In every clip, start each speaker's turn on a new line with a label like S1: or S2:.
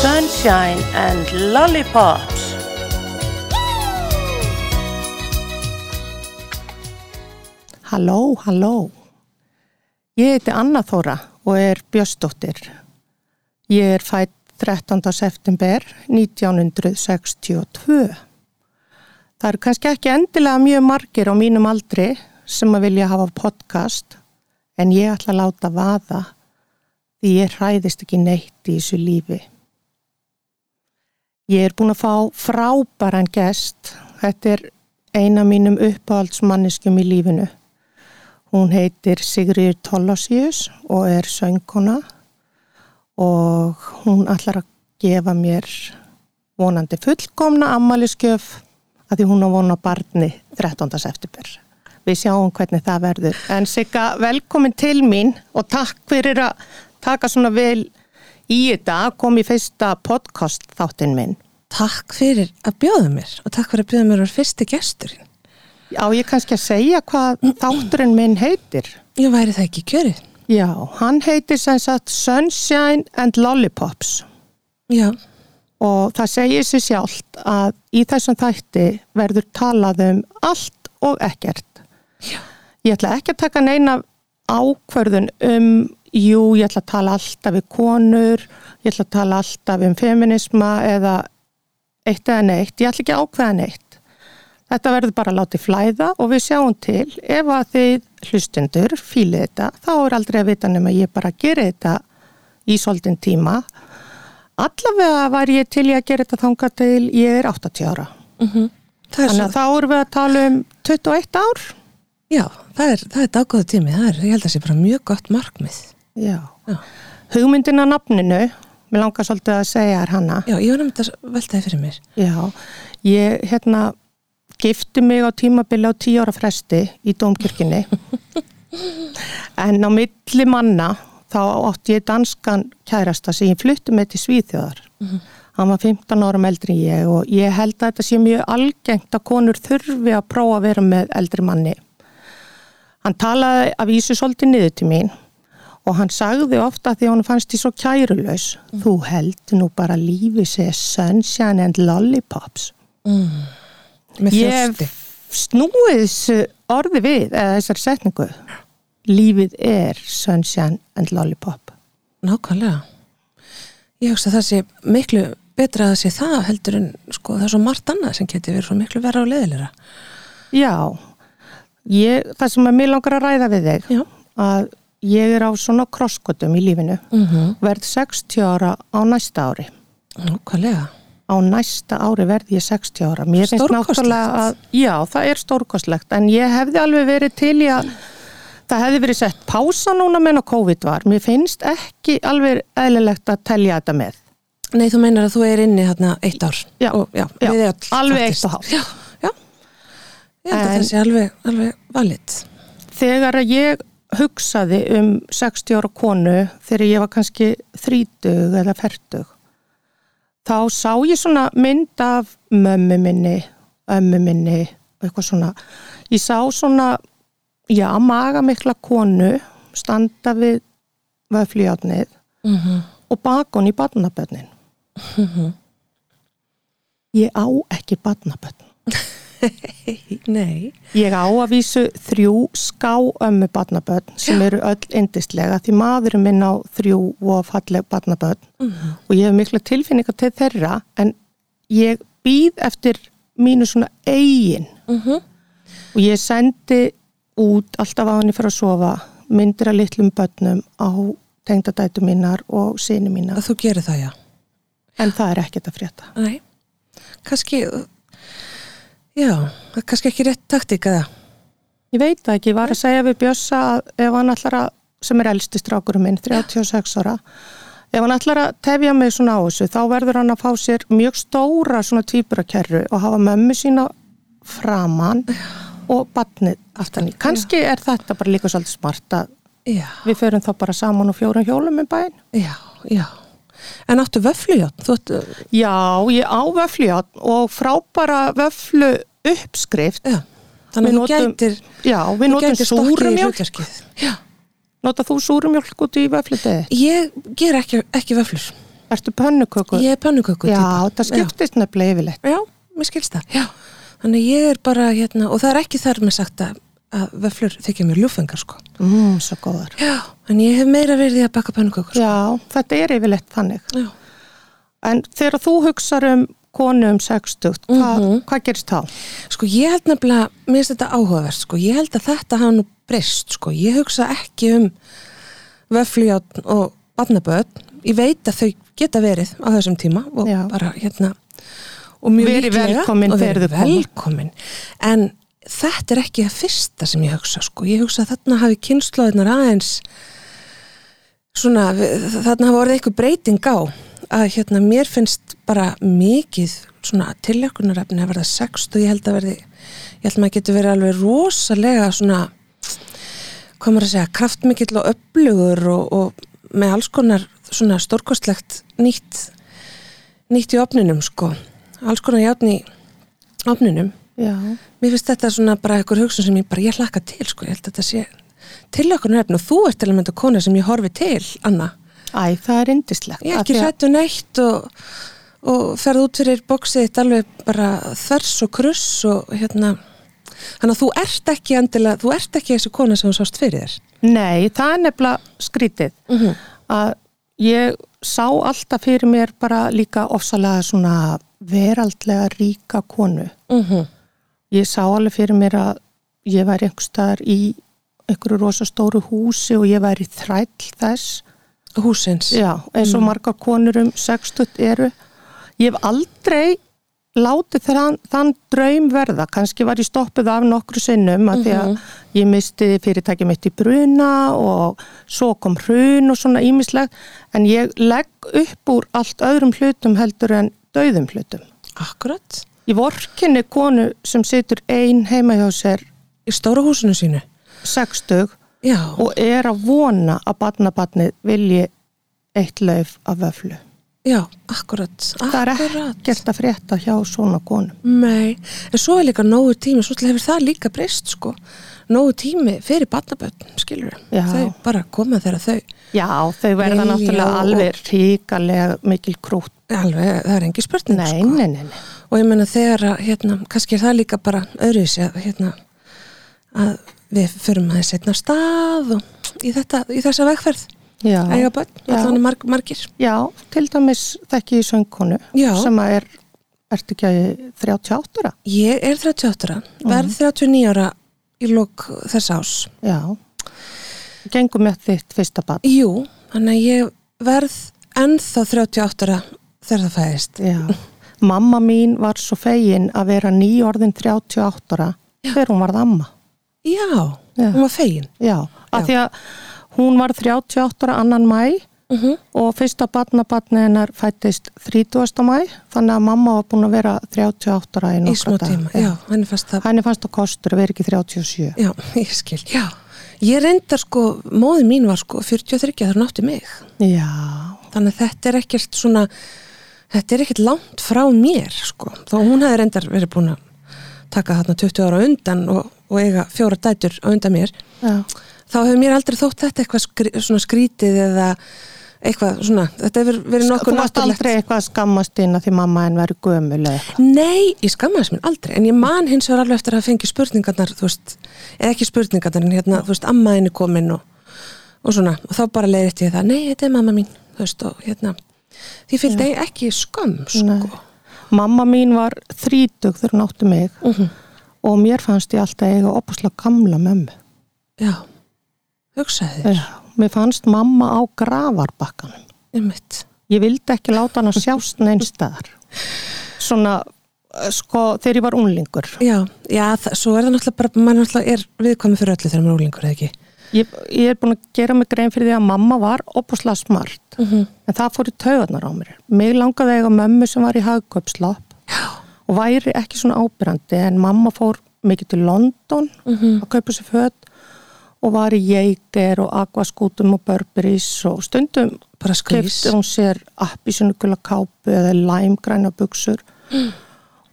S1: sunshine and lollipops.
S2: Halló, halló. Ég heiti Anna Þóra og er Björsdóttir. Ég er fætt 13. september 1962. Það eru kannski ekki endilega mjög margir á mínum aldri sem að vilja hafa podcast en ég ætla að láta vaða því ég hræðist ekki neitt í þessu lífi. Ég er búin að fá frábæran gest. Þetta er eina mínum uppáhaldsmanniskum í lífinu. Hún heitir Sigriður Tollosius og er söngkona og hún ætlar að gefa mér vonandi fullkomna ammaliðskjöf að því hún á vona barni 13. september. Við sjáum hvernig það verður. En Sigga, velkomin til mín og takk fyrir að taka svona vel í þetta, kom í fyrsta podcast þáttinn minn.
S3: Takk fyrir að bjóða mér og takk fyrir að bjóða mér að vera fyrsti gesturinn.
S2: Á ég kannski að segja hvað þátturinn minn heitir?
S3: Ég væri það ekki í kjöri.
S2: Já, hann heitir sem sagt Sunshine and Lollipops.
S3: Já,
S2: og það segir sér sjálft að í þessum þætti verður talað um allt og ekkert. Ég ætla ekki að taka neina ákvörðun um, jú, ég ætla að tala alltaf við konur, ég ætla að tala alltaf um feminisma eða eitt eða neitt, ég ætla ekki að ákveða neitt. Þetta verður bara látið flæða og við sjáum til ef að þið hlustendur fílið þetta, þá er aldrei að vita nema ég bara geri þetta í soldin tíma Allavega var ég til ég að gera þetta þangað til ég er 80 ára.
S3: það er,
S2: Þannig að
S3: svo,
S2: þá erum við að tala um 21 ár.
S3: já, það er, það er daggóðu tími. Það er, ég held að það sé bara mjög gott markmið.
S2: Já.
S3: Já,
S2: Hugmyndin að nafninu, mér langar svolítið að segja er hana.
S3: já ég var nefnd að velta það fyrir mér.
S2: Já, ég hérna gifti mig á tímabili á tíu ára fresti í Dómkirkjunni en á milli manna þá átti ég danskan kærasta sem ég flutti með til Svíþjóðar hann var 15 árum eldri en ég og ég held að þetta sé mjög algengt að konur þurfi að prófa að vera með eldri manni hann talaði af Ísu svolítið niður til mín og hann sagði ofta því hann fannst því svo kærulaus þú held nú bara lífi sé sunshine and lollipops
S3: Með
S2: ég
S3: þjósti.
S2: hef snúið þessu orði við eða þessar setningu lífið er sunshine and lollipop
S3: Nákvæmlega. Ég hugsa að það sé miklu betra að það sé það heldur en sko það er svo margt annað sem geti verið svo miklu verra og leðilegra.
S2: já ég, það sem er mér langar að ræða við þig
S3: Já.
S2: að ég er á svona krosskutum í lífinu
S3: Mhm.
S2: verð 60 ára á næsta ári
S3: Nákvæmlega.
S2: á næsta ári verði ég 60 ára mér finnst
S3: Stórkostlegt.
S2: náttúrulega að, já það er stórkostlegt en ég hefði alveg verið til í að það hefði verið sett pása núna meðan að COVID var, mér finnst ekki alveg eðlilegt að telja þetta með
S3: Nei, þú meinar að þú er inni hérna eitt ár.
S2: Já.
S3: og, já,
S2: Já.
S3: við öll.
S2: Alveg eitt
S3: fattist.
S2: og hálft.
S3: Já, já. Ég held að
S2: En-
S3: það sé alveg, alveg valitt.
S2: þegar að ég hugsaði um 60 ára konu þegar ég var kannski 30 eða 40 þá sá ég svona mynd af mömmu minni, ömmu minni og eitthvað svona ég sá svona, já, maga mikla konu standa við vöfljáttnið og baka hún í barnabönnin ég á ekki barnabönn
S3: Nei.
S2: Ég á að vísu þrjú ská ömmu barnaböld sem eru öll indislega því maðurinn minn á þrjú og falleg barnaböld og ég hef mikla tilfinninga til þeirra en ég býð eftir mínu svona eigin og ég sendi út alltaf á henni fyrir að sofa myndir af litlum börnum á tengdadætu mínar og sinni mínar
S3: Að þú gerir það, já.
S2: en það er ekkert að frétta.
S3: Nei. Kanski, já, það er kannski ekki rétt taktík að það.
S2: Ég veit það ekki, ég var að segja við Bjössa að ef hann allar að, sem er elsti strákurum minn, 36 ára, ef hann allar að tefja mig svona á þessu, þá verður hann að fá sér mjög stóra svona tvíburakerru og hafa mömmu sína framan og batnið aftan í. Kanski er þetta bara líka svolítið smart að
S3: Já,
S2: við förum þá bara saman og fjórum hjólum um bæinn.
S3: já, já. En áttu vöflujátn, þú áttu,
S2: Já, ég á vöfljátt og frábæra vöflu uppskrift.
S3: já.
S2: Við
S3: Þannig að þú
S2: notum-
S3: gætir,
S2: Já, við
S3: þú
S2: notum
S3: gætir stokkið í
S2: súrumjólk.
S3: hlutverkið. Já.
S2: Notað þú súrumjólk út í vöflutegi?
S3: Ég ger ekki, ekki vöflur.
S2: Ertu pönnuköku?
S3: Ég er pönnuköku
S2: Já,
S3: týpa.
S2: það skiptist nefnilega yfirleitt.
S3: Já, mér skilst það. Já. Þannig ég er bara hérna, og það er ekki þar með sagt að, að vöflur þykja mér ljúfengar sko.
S2: Mm, svo góðar.
S3: Já, en ég hef meira verið í að baka pönnukökur. Sko.
S2: Já, þetta er yfirleitt þannig.
S3: Já.
S2: En þegar þú hugsar um konu um 60, hva, hvað gerist þá?
S3: Sko ég held nefnilega, mér finnst þetta áhugavert sko, ég held að þetta hafa nú breyst sko, ég hugsa ekki um vöflujátn og barnaböð, ég veit að þau geta verið á þessum tíma og
S2: Já.
S3: bara hérna og mjög
S2: Verið
S3: líklega
S2: velkomin
S3: og verið
S2: þegar þau koma.
S3: velkomin en þetta er ekki það fyrsta sem ég hugsa sko, ég hugsa að þarna hafi kynnslóðinar aðeins svona, við- þarna hafa orðið eitthvað breyting á að hérna mér finnst bara mikið svona tilökunarefni að verða sext og ég held að verði ég held að maður getur verið alveg rosalega svona hvað maður að segja, kraftmikill og öflugur og, og með alls konar svona stórkostlegt nýtt nýtt í opninum sko alls konar játn í opninum
S2: Já,
S3: mér finnst þetta svona bara einhver hugsun sem ég bara ég hlakka til sko, ég held að þetta sé tilökunarefni og þú ert til að mynda kona sem ég horfi til, Anna
S2: æ, það er indislegt.
S3: Ég er
S2: Af
S3: ekki
S2: því að-
S3: hrættu neitt og, og ferð út fyrir bóksið þitt alveg bara þvers og kruss og hérna Þannig að þú ert ekki endilega, þú ert ekki þessi kona sem þú sást fyrir þér.
S2: Nei, það er nefnilega skrítið. Að ég sá alltaf fyrir mér bara líka ofsalega svona veraldlega ríka konu.
S3: Mm
S2: Mhm.
S3: -hmm.
S2: Ég sá alveg fyrir mér að ég væri einhverstaðar í einhverju rosa stóru húsi og ég væri þræll þess.
S3: Húsins.
S2: Já, eins og margar konur um 60 eru. Ég hef aldrei látið þann, þann draum verða. Kanski var ég stoppuð af nokkru sinnum að því að ég misti fyrirtæki mitt í bruna og svo kom hrun og svona ímislegt. En ég legg upp úr allt öðrum hlutum heldur en döðum hlutum.
S3: Akkurat.
S2: Ég vorkinni konu sem situr ein heima hjá sér
S3: Í stóra húsinu sínu.
S2: 60
S3: Já.
S2: og er að vona að barnabarnið vilji eitt lauf af vöflu.
S3: já, akkurat.
S2: það er
S3: akkurat.
S2: ekkert að frétta hjá svona konum.
S3: Nei, en svo er líka nógu tími, svo til hefur það líka breyst sko. Nógu tími fyrir barnabötn, skilur við.
S2: Já.
S3: Þau bara koma þegar þau,
S2: Já, þau verða
S3: Nei,
S2: náttúrulega
S3: já,
S2: alveg ríkalega mikil krútt.
S3: alveg, það er engi spurning
S2: Nei,
S3: sko.
S2: nei, nei, nei.
S3: og ég meina þegar að hérna, kannski er það líka bara öðruvísi að hérna að við förum aðeins setna stað og í, þetta, í þessa vegferð
S2: Já,
S3: eiga börn,
S2: Já.
S3: allan marg, margir
S2: já til dæmis þekki ég söngkonu
S3: Já.
S2: sem að er, ertu ekki að 38 ára?
S3: ég er 38 ára,
S2: Mhm.
S3: verð 39 ára í lok þess ás
S2: Já. Gengum með þitt fyrsta barn.
S3: jú, þannig að ég verð ennþá 38 ára þegar það fæðist
S2: Já. Mamma mín var svo fegin að vera nýorðin 38 ára þegar hún varð amma.
S3: já,
S2: Já.
S3: hún var fegin
S2: Já,
S3: Já.
S2: af því að hún var 38 ára annan mæ
S3: uh -huh.
S2: og fyrsta barnabarni hennar fættist 30. mæ þannig að mamma var búin að vera 38 ára í
S3: í
S2: nokkra
S3: smá tíma, já, henni fannst það
S2: Henni fannst það kostur að vera ekki 37.
S3: já, ég skil, já ég reyndar sko, móði mín var sko 43 þegar hún átti mig
S2: Já,
S3: þannig að þetta er ekkert svona þetta er ekkert langt frá mér sko. þó hún hefði reyndar verið búin að taka þarna 20 ára á undan og, og eiga fjóra dætur á undan mér
S2: já,
S3: þá hefur mér aldrei þótt þetta eitthvað skri, svona skrítið eða eitthvað svona, þetta hefur verið
S2: Sko, þú
S3: nokkuð
S2: varst aldrei eitthvað að skammast inn að því mamma henn verið gömuleg.
S3: Nei, ég skammaðis mér aldrei, en ég man hins vegar alveg eftir að fengi spurningarnar, þú veist, eða ekki spurningarnar, en hérna, þú veist, ammaðin er komin og, og svona, og þá bara leiðið ég það, nei, þetta er mamma mín, þú veist, og hérna, því fylgdi ég ekki skam, sko.
S2: Mamma mín var 30 þegar hún átti mig
S3: Mhm.
S2: og mér fannst ég alltaf eiga opaslega gamla mömmu.
S3: Já, hugsaði þér,
S2: Já, mér fannst mamma á gravarbakkanum.
S3: um mitt.
S2: Ég vildi ekki láta hann að sjást neinstæðar. Svona, eh, sko, þegar ég var unglingur.
S3: Já, já, það, svo er það náttúrulega bara, maður náttúrulega er viðkomið fyrir öllu þegar maður er úlingur, eða ekki?
S2: Ég, ég er búin að gera mig grein fyrir því að mamma var opaslega smart. En það fór í taugarnar á mér. Mig langaði að eiga mömmu sem var í hagköpslapp og væri ekki svona ábyrrandi en mamma fór mikið til London að kaupa sér föt og var í Jager og Aquaskutum og Burberry's og stundum
S3: Bara skrís.
S2: kefti hún sér appisjónugula kápu eða læmgræna buksur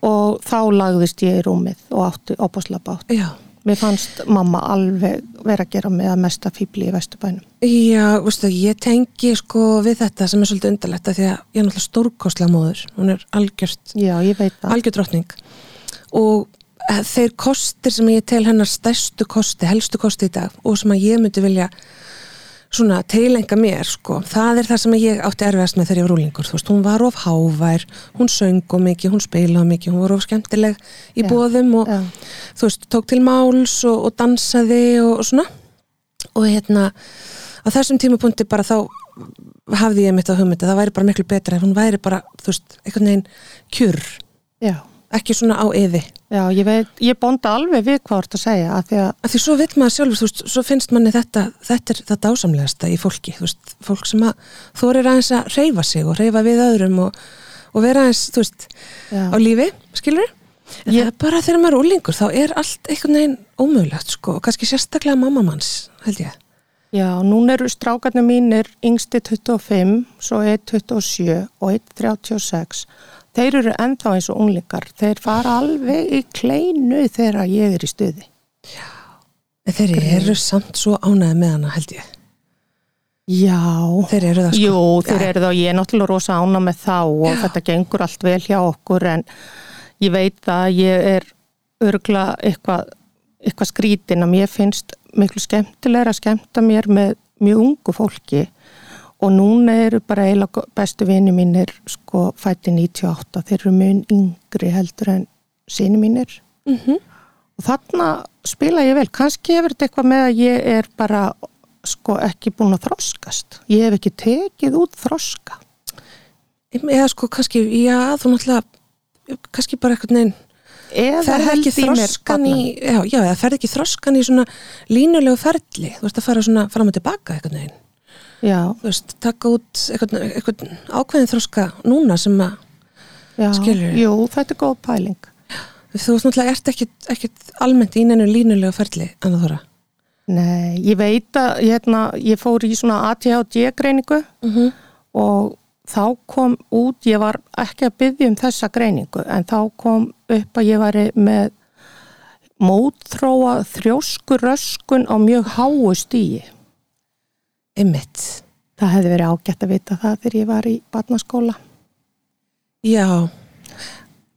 S2: og þá lagðist ég í rúmið og átti opaslega bátt.
S3: Já,
S2: Mér fannst mamma alveg vera að gera með að mesta fýbli í Vesturbænum.
S3: Já, veistu, ég tengi sko við þetta sem er svolítið undarlegt af því að ég er náttúrulega stórkostlega móður, hún er algjört,
S2: Já, ég veit það.
S3: algjört drottning og eh, þeir kostir sem ég tel hennar stærstu kosti, helstu kosti í dag og sem að ég myndi vilja svona teilenga mér sko, það er það sem ég átti erfiðast með þegar ég var úlingur, þú veist, hún var of hávær, hún söng og mikið, hún spilaði mikið, hún var of skemmtileg í
S2: Já,
S3: bóðum og
S2: já.
S3: þú veist, tók til máls og, og dansaði og, og svona og hérna á þessum tímapunkti bara þá hafði ég mitt á hugmyndi, það væri bara miklu betra ef hún væri bara, þú veist, einhvern veginn kjur,
S2: Já,
S3: ekki svona á eði
S2: já, ég veit, ég bonda alveg við hvað þú ert að segja að því að
S3: af því svo veit maður sjálfur, þú veist, svo finnst manni þetta, þetta er það dásamlegasta í fólki þú veist, fólk sem að þorir aðeins að reyfa sig og reyfa við öðrum og, og vera aðeins, þú veist,
S2: Já.
S3: á lífi skilur en
S2: Ég-
S3: það er bara þegar maður er úlingur þá er allt einhvern veginn ómögulegt sko, og kannski sérstaklega mamma manns held ég,
S2: Já, núna eru strákarnir mínir yngsti 25, svo 1 27 og 1 36. Þeir eru ennþá eins og unglingar. Þeir fara alveg í kleinu þegar ég er í stuði.
S3: en þeir eru samt svo ánæði með hana held ég
S2: Já.
S3: þeir eru það sko
S2: Jú, þeir
S3: Já.
S2: eru þá, ég er náttúrulega rosa ána með þá og þetta gengur allt vel hjá okkur en ég veit að ég er örgla eitthvað eitthvað skrítin að mér finnst miklu skemmtilega að skemmta mér með mjög ungu fólki og núna eru bara eiginlega bestu vini mínir sko fætti 98 þeir eru mun yngri heldur en sinni mínir og þarna spila ég vel kannski hefur þetta eitthvað með að ég er bara sko ekki búin að þroskast ég hef ekki tekið út þroska
S3: eða sko kannski, já þú náttúrulega kannski bara einhvern veginn
S2: eða
S3: ferð ekki
S2: held í mér
S3: þroskan í, já, já, eða ferð ekki þroskan í svona línulegu ferli þú veist að fara svona fram og tilbaka einhvern veginn
S2: já,
S3: þú veist, taka út einhvern, einhvern ákveðin þroska núna sem að
S2: já,
S3: Skilurðu?
S2: jú, þetta er góð pæling
S3: þú veist náttúrulega ert ekkit, ekkit almennt í neinu línulegu ferli annað þóra
S2: nei, ég veit að hérna, ég fór í svona ATHD greiningu
S3: -hmm.
S2: og þá kom út, ég var ekki að byggja um þessa greiningu en þá kom upp að ég væri með mótþróa þrjóskuröskun á mjög háu stíi
S3: einmitt
S2: Það hefði verið ágætt að vita það þegar ég var í barnaskóla.
S3: já,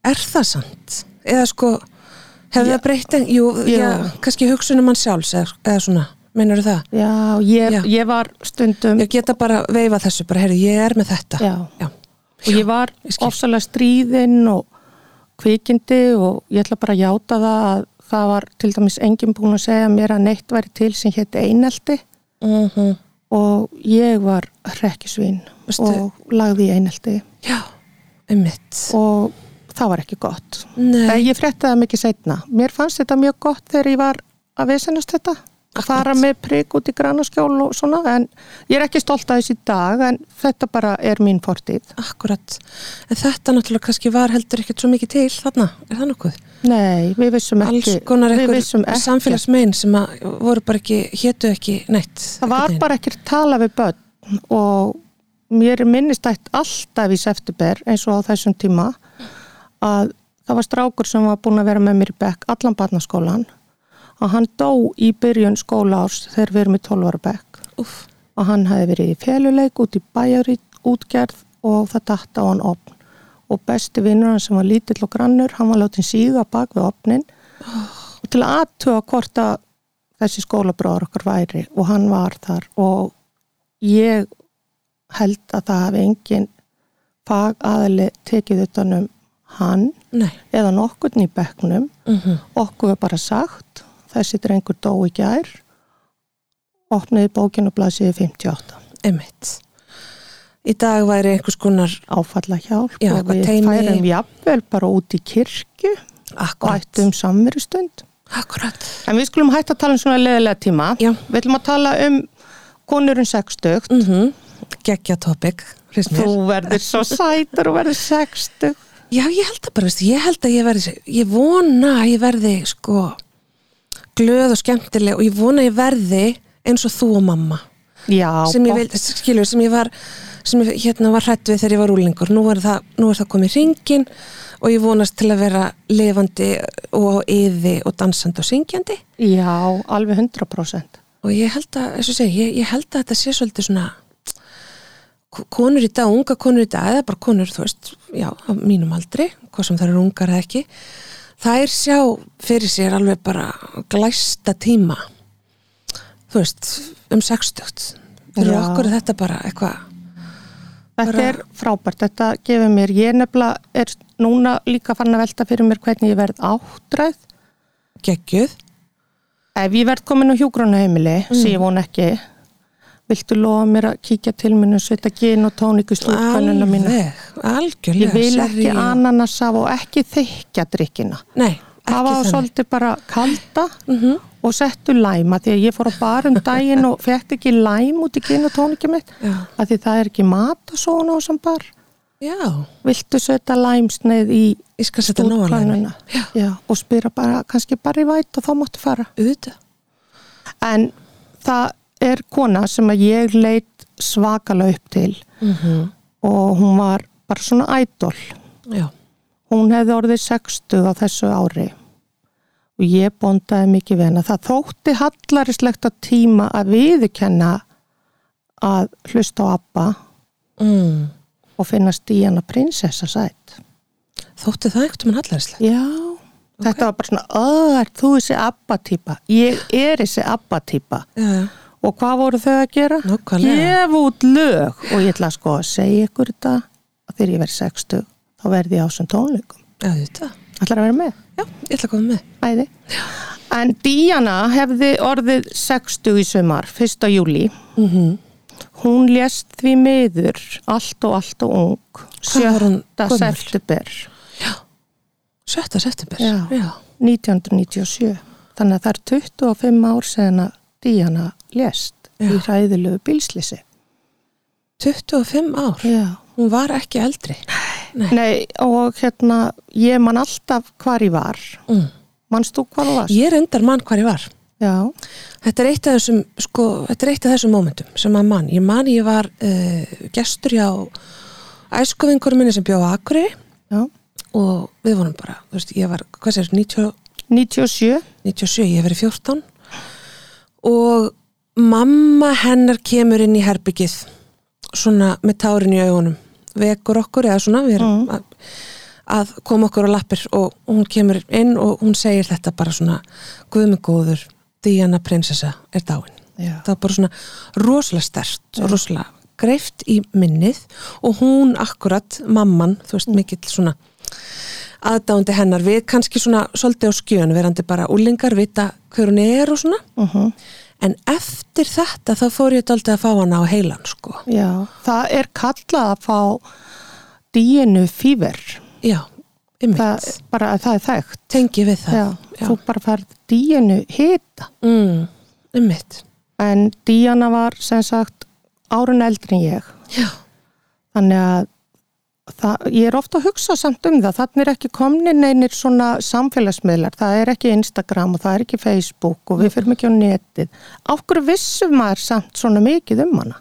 S3: er það sant? eða sko, hefur
S2: Já.
S3: það breytt en, jú,
S2: Já.
S3: já, kannski hugsunum mann sjálfs eða, eða svona, meinar það?
S2: Já, ég,
S3: Já.
S2: ég var stundum
S3: ég geta bara veifa þessu, bara heyrðu, ég er með þetta
S2: Um- já,
S3: já,
S2: og ég var
S3: Ég skil.
S2: ofsalega stríðin og kvikindi og ég ætla bara að játa það að það var til dæmis enginn búin að segja mér að neitt væri til sem hétt einelti
S3: mm
S2: og ég var hrekkisvín
S3: Veistu-
S2: og lagði í einelti
S3: já einmitt
S2: og það var ekki gott.
S3: Nei,
S2: Nei. Eh, Ég frétti það mikið setna. Mér fannst þetta mjög gott þegar ég var að vesenast þetta. Að fara með prik út í grannaskjól og svona. En ég er ekki stolt að þessi dag en þetta bara er mín fortíð.
S3: akkurat. En þetta náttúrulega kannski var heldur ekkert svo mikið til þarna, er það nokkuð?
S2: Nei, við vissum ekki.
S3: Alls konar
S2: Við vissum
S3: einhver
S2: ekki.
S3: samfélagsmein sem að voru bara ekki, hétu ekki neitt.
S2: Það var
S3: einhvern veginn.
S2: bara ekkert tala við börn og mér er minnistætt alltaf í september eins og á þessum tíma að það var strákur sem var búin að vera með mér í bekk allan barnaskólan og hann dó í byrjun skólaárs þegar við erum í 12 ára bekk
S3: Úff,
S2: og hann hafi verið í féluleik út í bæjarít útgerð og það datt á hann opn og besti vinnur hann sem var lítill og grannur hann var látið síga bak við opnin og til að aðtuga hvort að þessi skólabróður okkar væri og hann var þar og ég held að það hafi engin fagaðli tekið utanum hann
S3: nei.
S2: eða nokkurn í bekknum
S3: Mm
S2: okkur er bara sagt þessi drengur dó í gær opniði bókinu blasiði 58
S3: Einmitt. Í dag væri einhvers konar
S2: áfalla hjálp
S3: Já,
S2: og
S3: eitthvað
S2: við
S3: teymi.
S2: færum jafnvel bara út í kirkju og
S3: akkurat.
S2: ættum samverustund
S3: Akkurat.
S2: en við skulum hætta að tala um svona leðilega tíma
S3: Já.
S2: við ætlum að tala um konurinn sextugt
S3: Mm -hmm. Gekkja topic, hrist mér.
S2: þú verður svo sætur og verður sextugt
S3: Já, ég held það bara, veist, ég held að ég verði, ég vona að ég verði sko glöð og skemmtileg og ég vona að ég verði eins og þú og mamma
S2: já,
S3: sem ég,
S2: botn-
S3: vil, skilur, sem ég var sem ég hérna var hrætt við þegar ég var úlingur nú er það, nú er það komið hringin og ég vonast til að vera lifandi og á yði og dansandi og syngjandi
S2: Já, alveg 100%.
S3: og ég held að, eins og segi, ég, ég held að þetta sé svolítið svona k- konur í dag, unga konur í dag eða bara konur, þú veist, já, á mínum aldri hvað sem það eru ungar eða ekki þær sjá fyrir sér alveg bara glæsta tíma þú veist, um 60 fyrir
S2: Já.
S3: okkur er þetta bara eitthvað
S2: Þetta
S3: Bara-
S2: er frábært, þetta gefur mér, ég nefnilega er núna líka fann að velta fyrir mér hvernig ég verð áttræð.
S3: geggjuð
S2: Ef ég verð komin á hjúgrunaheimili, mm. sem ég von ekki, viltu lofa mér að kíkja til minn og setja gin og tónik í slúkvænuna mínu?
S3: alveg, algjörlega
S2: Ég vil ekki
S3: sorry.
S2: ananasa og ekki þykja drikkina.
S3: nei,
S2: Það
S3: ekki
S2: var
S3: þannig Mhm.
S2: svolítið bara kalda og settu læma því að ég fór á bar um daginn og fekk ekki læm út í gin og tónikið mitt
S3: Já.
S2: að því það er ekki mat og svona og sem bar.
S3: já,
S2: viltu setja læmsneið í
S3: ég skal setja nóalæmi
S2: stúrkvænuna Já, og spyrja bara, kannski bara í væt og þá máttu fara
S3: auðvitað
S2: en það er kona sem að ég leit svakala upp til -hmm. og hún var bara svona ædol
S3: já,
S2: hún hefði orðið 60 á þessu ári og ég bondaði mikið við hana það þótti hallarislegt að tíma að viðurkenna að hlusta á Abba
S3: mm.
S2: og finnast í hana prinsessa sætt
S3: Þótti það einhvern veginn hallarinslegt?
S2: Já, þetta var bara svona, "Ó, ert þú þessi abba-týpa? Ég er þessi abba-týpa.
S3: Já, já.
S2: Og hvað voru þau að gera?
S3: Nákvæmlega.
S2: Gef út lög og ég ætla sko að segja ykkur þetta að þegar ég verð 60, þá verði ég á sem tónleikum.
S3: Já, þetta.
S2: Ætlar að vera með?
S3: Já, ég ætla að koma með.
S2: Æði. En Díana hefði orðið 60 í sumar, 1. júli.
S3: Mm -hmm.
S2: Hún lést því miður allt og allt og ung.
S3: Hvað var
S2: 7.
S3: hún gömul?
S2: september
S3: 7. september.
S2: Já. 1997 þannig að það er 25 ár seðan að Díana lést í
S3: Já.
S2: hræðilegu bílslisi
S3: 25 ár.
S2: Já.
S3: Hún var ekki eldri. Nei.
S2: Nei, og hérna ég man alltaf hvar ég var
S3: Mm.
S2: manst þú hvar þú varst?
S3: Ég er endar mann hvar ég var.
S2: Já,
S3: Þetta er eitt af þessum, sko, þetta er eitt af þessum mómentum sem að mann. Ég mann ég var uh, gestur hjá æskofingur minni sem bjóða Akureyri
S2: já
S3: og við vorum bara, þú veist, ég var, hvað sér, 90
S2: 97,
S3: 97, ég hef verið 14 og mamma hennar kemur inn í herbyggið svona með tárin í augunum vekur okkur eða svona við erum að, að koma okkur á lappir og hún kemur inn og hún segir þetta bara svona guðmi góður, Diana prinsessa er dáin
S2: Já.
S3: það var bara svona rosalega stert og rosalega greift í minnið og hún akkurat, mamman, þú veist, mikill svona aðdándi hennar við kannski svona svolítið á skjön verandi bara úlingar, vita hver hún er og svona
S2: Mhm.
S3: en eftir þetta þá fór ég dálítið að fá hana á heilan sko
S2: já það er kallað að fá Díanu fýver
S3: já, ymmit,
S2: það, er bara að það er þekkt
S3: tengi við það
S2: já, þú bara færð Díanu hita
S3: Mm, ymmit
S2: en Díana var sem sagt árun eldri en ég
S3: já,
S2: Þannig að það, ég er ofta að hugsa samt um það, þannig er ekki komni neinir svona samfélagsmiðlar, það er ekki Instagram og það er ekki Facebook og við fyrum ekki á netið. Á hverju vissum maður samt svona mikið um hana?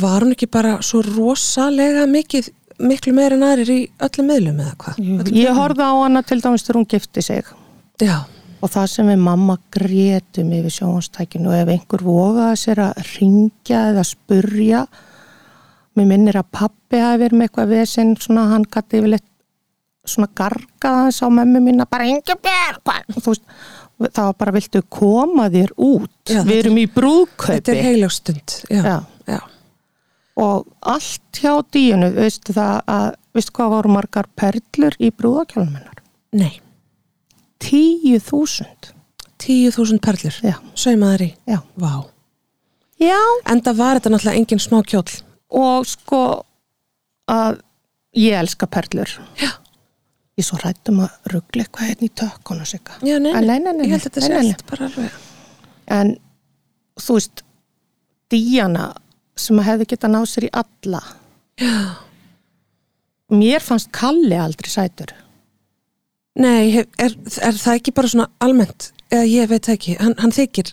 S3: var hún ekki bara svo rosalega mikið miklu meira en aðrir í öllum miðlum eða hvað? Öllum-
S2: Ég horfði á hana til dæmis þegar hún gifti sig
S3: Já,
S2: og það sem við mamma grétum yfir sjónastækinu og ef einhver vogaði sér að ringja eða spurja, mér minnir að pappi hafi verið með eitthvað vesinn, svona hann gæti yfirleitt svona gargaða hans á mömmu mína bara Ingebjörg hvað?" og þú veist, það var bara viltu koma þér út
S3: Já, þetta
S2: við erum í
S3: þetta er
S2: brúðkaupi
S3: heilagstund já, já.
S2: Já. og allt hjá díunu veistu það að, veistu hvað voru margar perlur í brúðakjálmennar
S3: nei,
S2: tíu þúsund
S3: 10.000 perlur
S2: já,
S3: saumaðar í,
S2: já,
S3: vá
S2: já
S3: Enda var þetta náttúrulega engin smá kjóll.
S2: og sko að ég elska perlur
S3: Já.
S2: ég er svo rættum að ruggla eitthvað hérna í tökkuna sigga
S3: Já, nei,
S2: Ah, nei, nei, nei,
S3: ég held að þetta sé
S2: nei, nei,
S3: allt bara alveg.
S2: en þú veist Díana sem hefði getað náð sér í alla
S3: Já.
S2: mér fannst Kalli aldrei sætur
S3: Nei, hef- er, er það ekki bara svona almennt? Eða ég veit það ekki, hann, hann þykir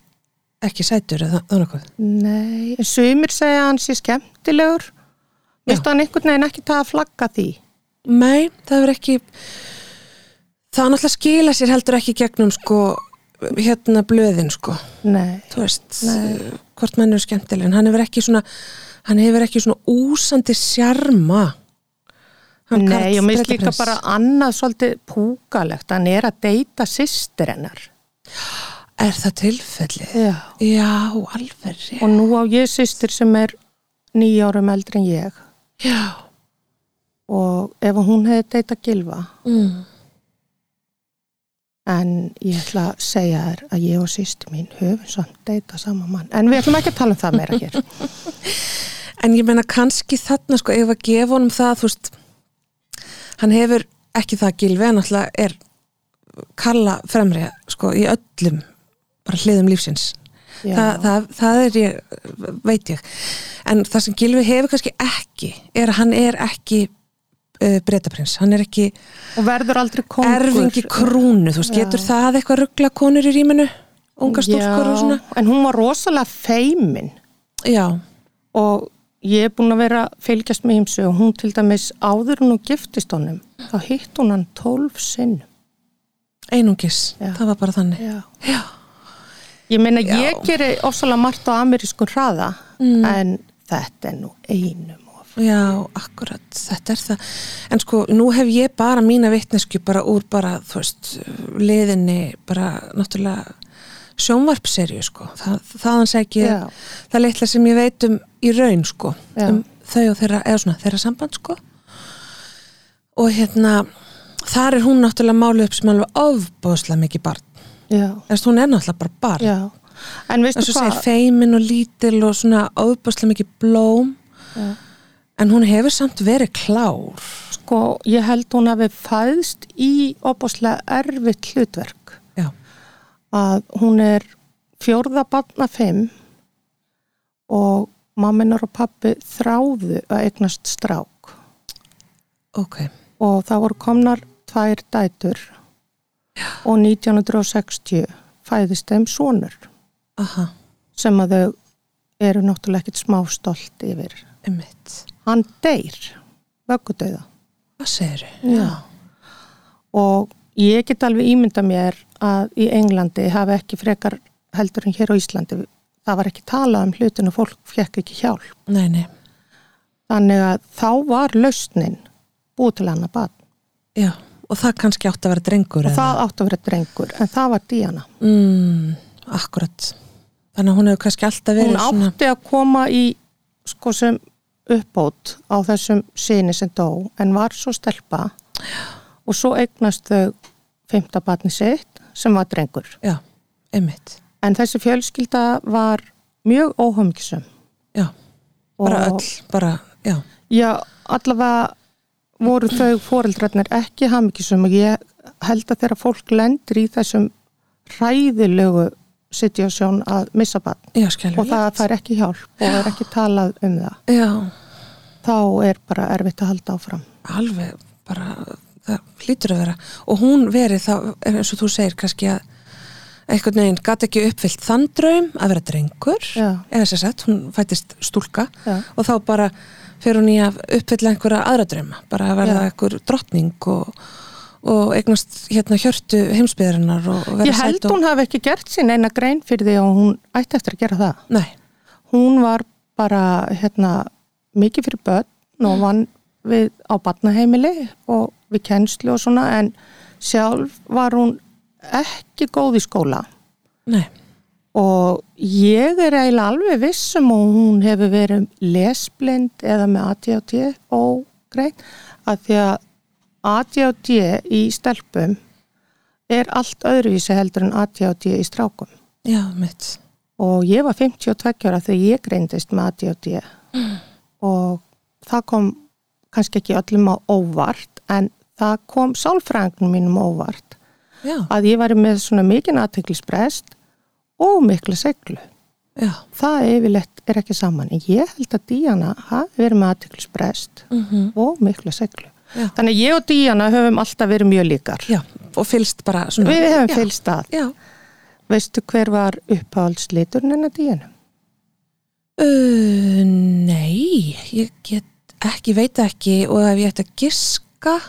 S3: ekki sætur eða það nokkuð.
S2: nei, en sumir segja að hann sé skemmtilegur
S3: Já.
S2: veist hann einhvern veginn ekki það að flagga því
S3: nei, það er ekki það náttúrulega skila sér heldur ekki gegnum sko hérna blöðin sko
S2: Nei,
S3: þú veist, eh, hvort mann er skemmtileg en hann hefur ekki svona hann hefur ekki svona úsandi sjarma Hann
S2: Nei
S3: Karl
S2: og mér finnst líka
S3: Strætisprins.
S2: bara annað svolítið púkalegt, hann er að deyta sýstir hennar.
S3: er það tilfellið?
S2: Já.
S3: já, alveg
S2: Og nú á ég sýstir sem er nýja árum eldri en ég
S3: já,
S2: og ef hún hefði deyta gilva
S3: mm.
S2: en ég ætla að segja þér að ég og sýstir mín höfum samt deyta sama mann. En við ætlum ekki að tala um það meira hér.
S3: En ég meina kannski þarna sko ef að gefa honum það, þú veist hann hefur ekki það gilfi en alltaf er kalla fremri sko í öllum bara hliðum lífsins
S2: Já.
S3: það, það, það er ég, veit ég en það sem gilfi hefur kannski ekki er að hann er ekki uh, breytaprins, hann er ekki
S2: og verður aldrei kongur.
S3: erfingi krúnu, þú veist,
S2: Já.
S3: getur það eitthvað ruggla konur í rýminu, unga stúlkur og svona,
S2: Já, en hún var rosalega feimin
S3: já
S2: og ég er búin að vera að fylgjast með himsu og hún til dæmis áður en hún giftist honum þá hitt hún hann tólf sinn
S3: einungis,
S2: Já.
S3: það var bara þannig
S2: Já.
S3: já,
S2: ég meina
S3: Já.
S2: ég geri ofsalega margt á amerískun hraða en þetta er nú einum of
S3: Já, akkurat, þetta er það. En sko, nú hef ég bara mína vitnesku bara úr bara, þú veist, liðinni, bara náttúrulega sjónvarpserju, sko. Þa, þaðan segi ég,
S2: Já.
S3: það litla sem ég veit um í raun, sko,
S2: Já.
S3: um þau og þeirra, eða svona, þeirra samband, sko. Og hérna, þar er hún náttúrulega málu upp sem alveg ofbóðslega mikið barn.
S2: já,
S3: Þess, hún er náttúrulega bara barn.
S2: já. en
S3: Þess
S2: veistu
S3: að segir
S2: hvað
S3: feimin og lítil og svona ofbóðslega mikið blóm.
S2: Já.
S3: En hún hefur samt verið klár.
S2: sko, ég held hún hafi fæðst í ofbáslega erfitt hlutverk
S3: Já.
S2: að hún er fjórða barna fimm og mamminar og pappi þráðu að eignast strák
S3: Ok.
S2: og það voru komnar tvær dætur og 1960 fæðist þeim sonur
S3: Aha,
S2: sem að þau eru náttúrulega ekkit smá stolt yfir.
S3: einmitt.
S2: Hann deyr vöggudauða
S3: Hvað segirðu?
S2: Já. og ég get alveg ímynda mér að í Englandi hafi ekki frekar heldur en hér á Íslandi það var ekki talað um hlutin og fólk fekk ekki hjálp.
S3: Nei, nei.
S2: Þannig að þá var lausnin búið til annað barn
S3: Já. Og það kannski átti að vera drengur.
S2: og það átti að vera drengur en það var Díana.
S3: Mm, akkurat. Þannig að hún hefur kannski alltaf verið
S2: hún átti að koma í sko sem uppbót á þessum sinni sem dó en var svo stelpa og svo eignast þau fymta batni sitt sem var drengur
S3: Já, einmitt.
S2: en þessi fjölskylda var mjög óhumisum
S3: Já. Bara öll, bara, já.
S2: já, allavega voru þau foreldrarnir ekki hamigisum og ég held að þegar fólk lendir í þessum hræðilegu situasjón að missa batn
S3: Já, skjálfur.
S2: og það fær ekki hjálp og er ekki talað um það
S3: Já,
S2: þá er bara erfitt að halda áfram.
S3: alveg bara, það hlýtur að vera. Og hún verið þá, eins og þú segir, kannski að einhvern veginn gat ekki uppfyllt þann draum að vera drengur.
S2: Já.
S3: Eða sér sett, hún fættist stúlka.
S2: Já.
S3: og þá bara fer hún í að uppfylla einhverja aðra drauma, bara að verða
S2: Já.
S3: einhver drottning og, og eignast hérna hjörtu heimsbyðarinnar og og vera
S2: Ég held
S3: sæt og...
S2: hún hafi ekki gert sín eina grein fyrir því og hún ætti eftir að gera það.
S3: Nei,
S2: Hún var bara hérna, mikið fyrir börn og vann við á batnaheimili og við kennslu og svona en sjálf var hún ekki góð í skóla
S3: nei,
S2: og ég er eiginlega alveg vissum og hún hefur verið lesblind eða með ADHD og greið að því að ADHD í stelpum er allt öðruvísi heldur en ADHD í strákum
S3: já, mitt
S2: og ég var 52 ára þegar ég greindist með ADHD og það kom kannski ekki öllum á óvart en það kom sálfræðingnum mínum á óvart
S3: Já,
S2: að ég var með svona mikinn aðteglisbrest og mikla seglu
S3: já,
S2: það yfirleitt er ekki saman en ég held að Díana hafi verið með aðteglisbrest
S3: Mhm.
S2: og mikla seglu
S3: Já.
S2: þannig að ég og Díana höfum alltaf verið mjög líkar
S3: já og fylgst bara svona
S2: við höfum
S3: já,
S2: fylgst að
S3: Já,
S2: veistu hver var uppáhaldsliturinn hennar Díana?
S3: uh, nei, ég get ekki, veit ekki og ef ég ætti að giska pakka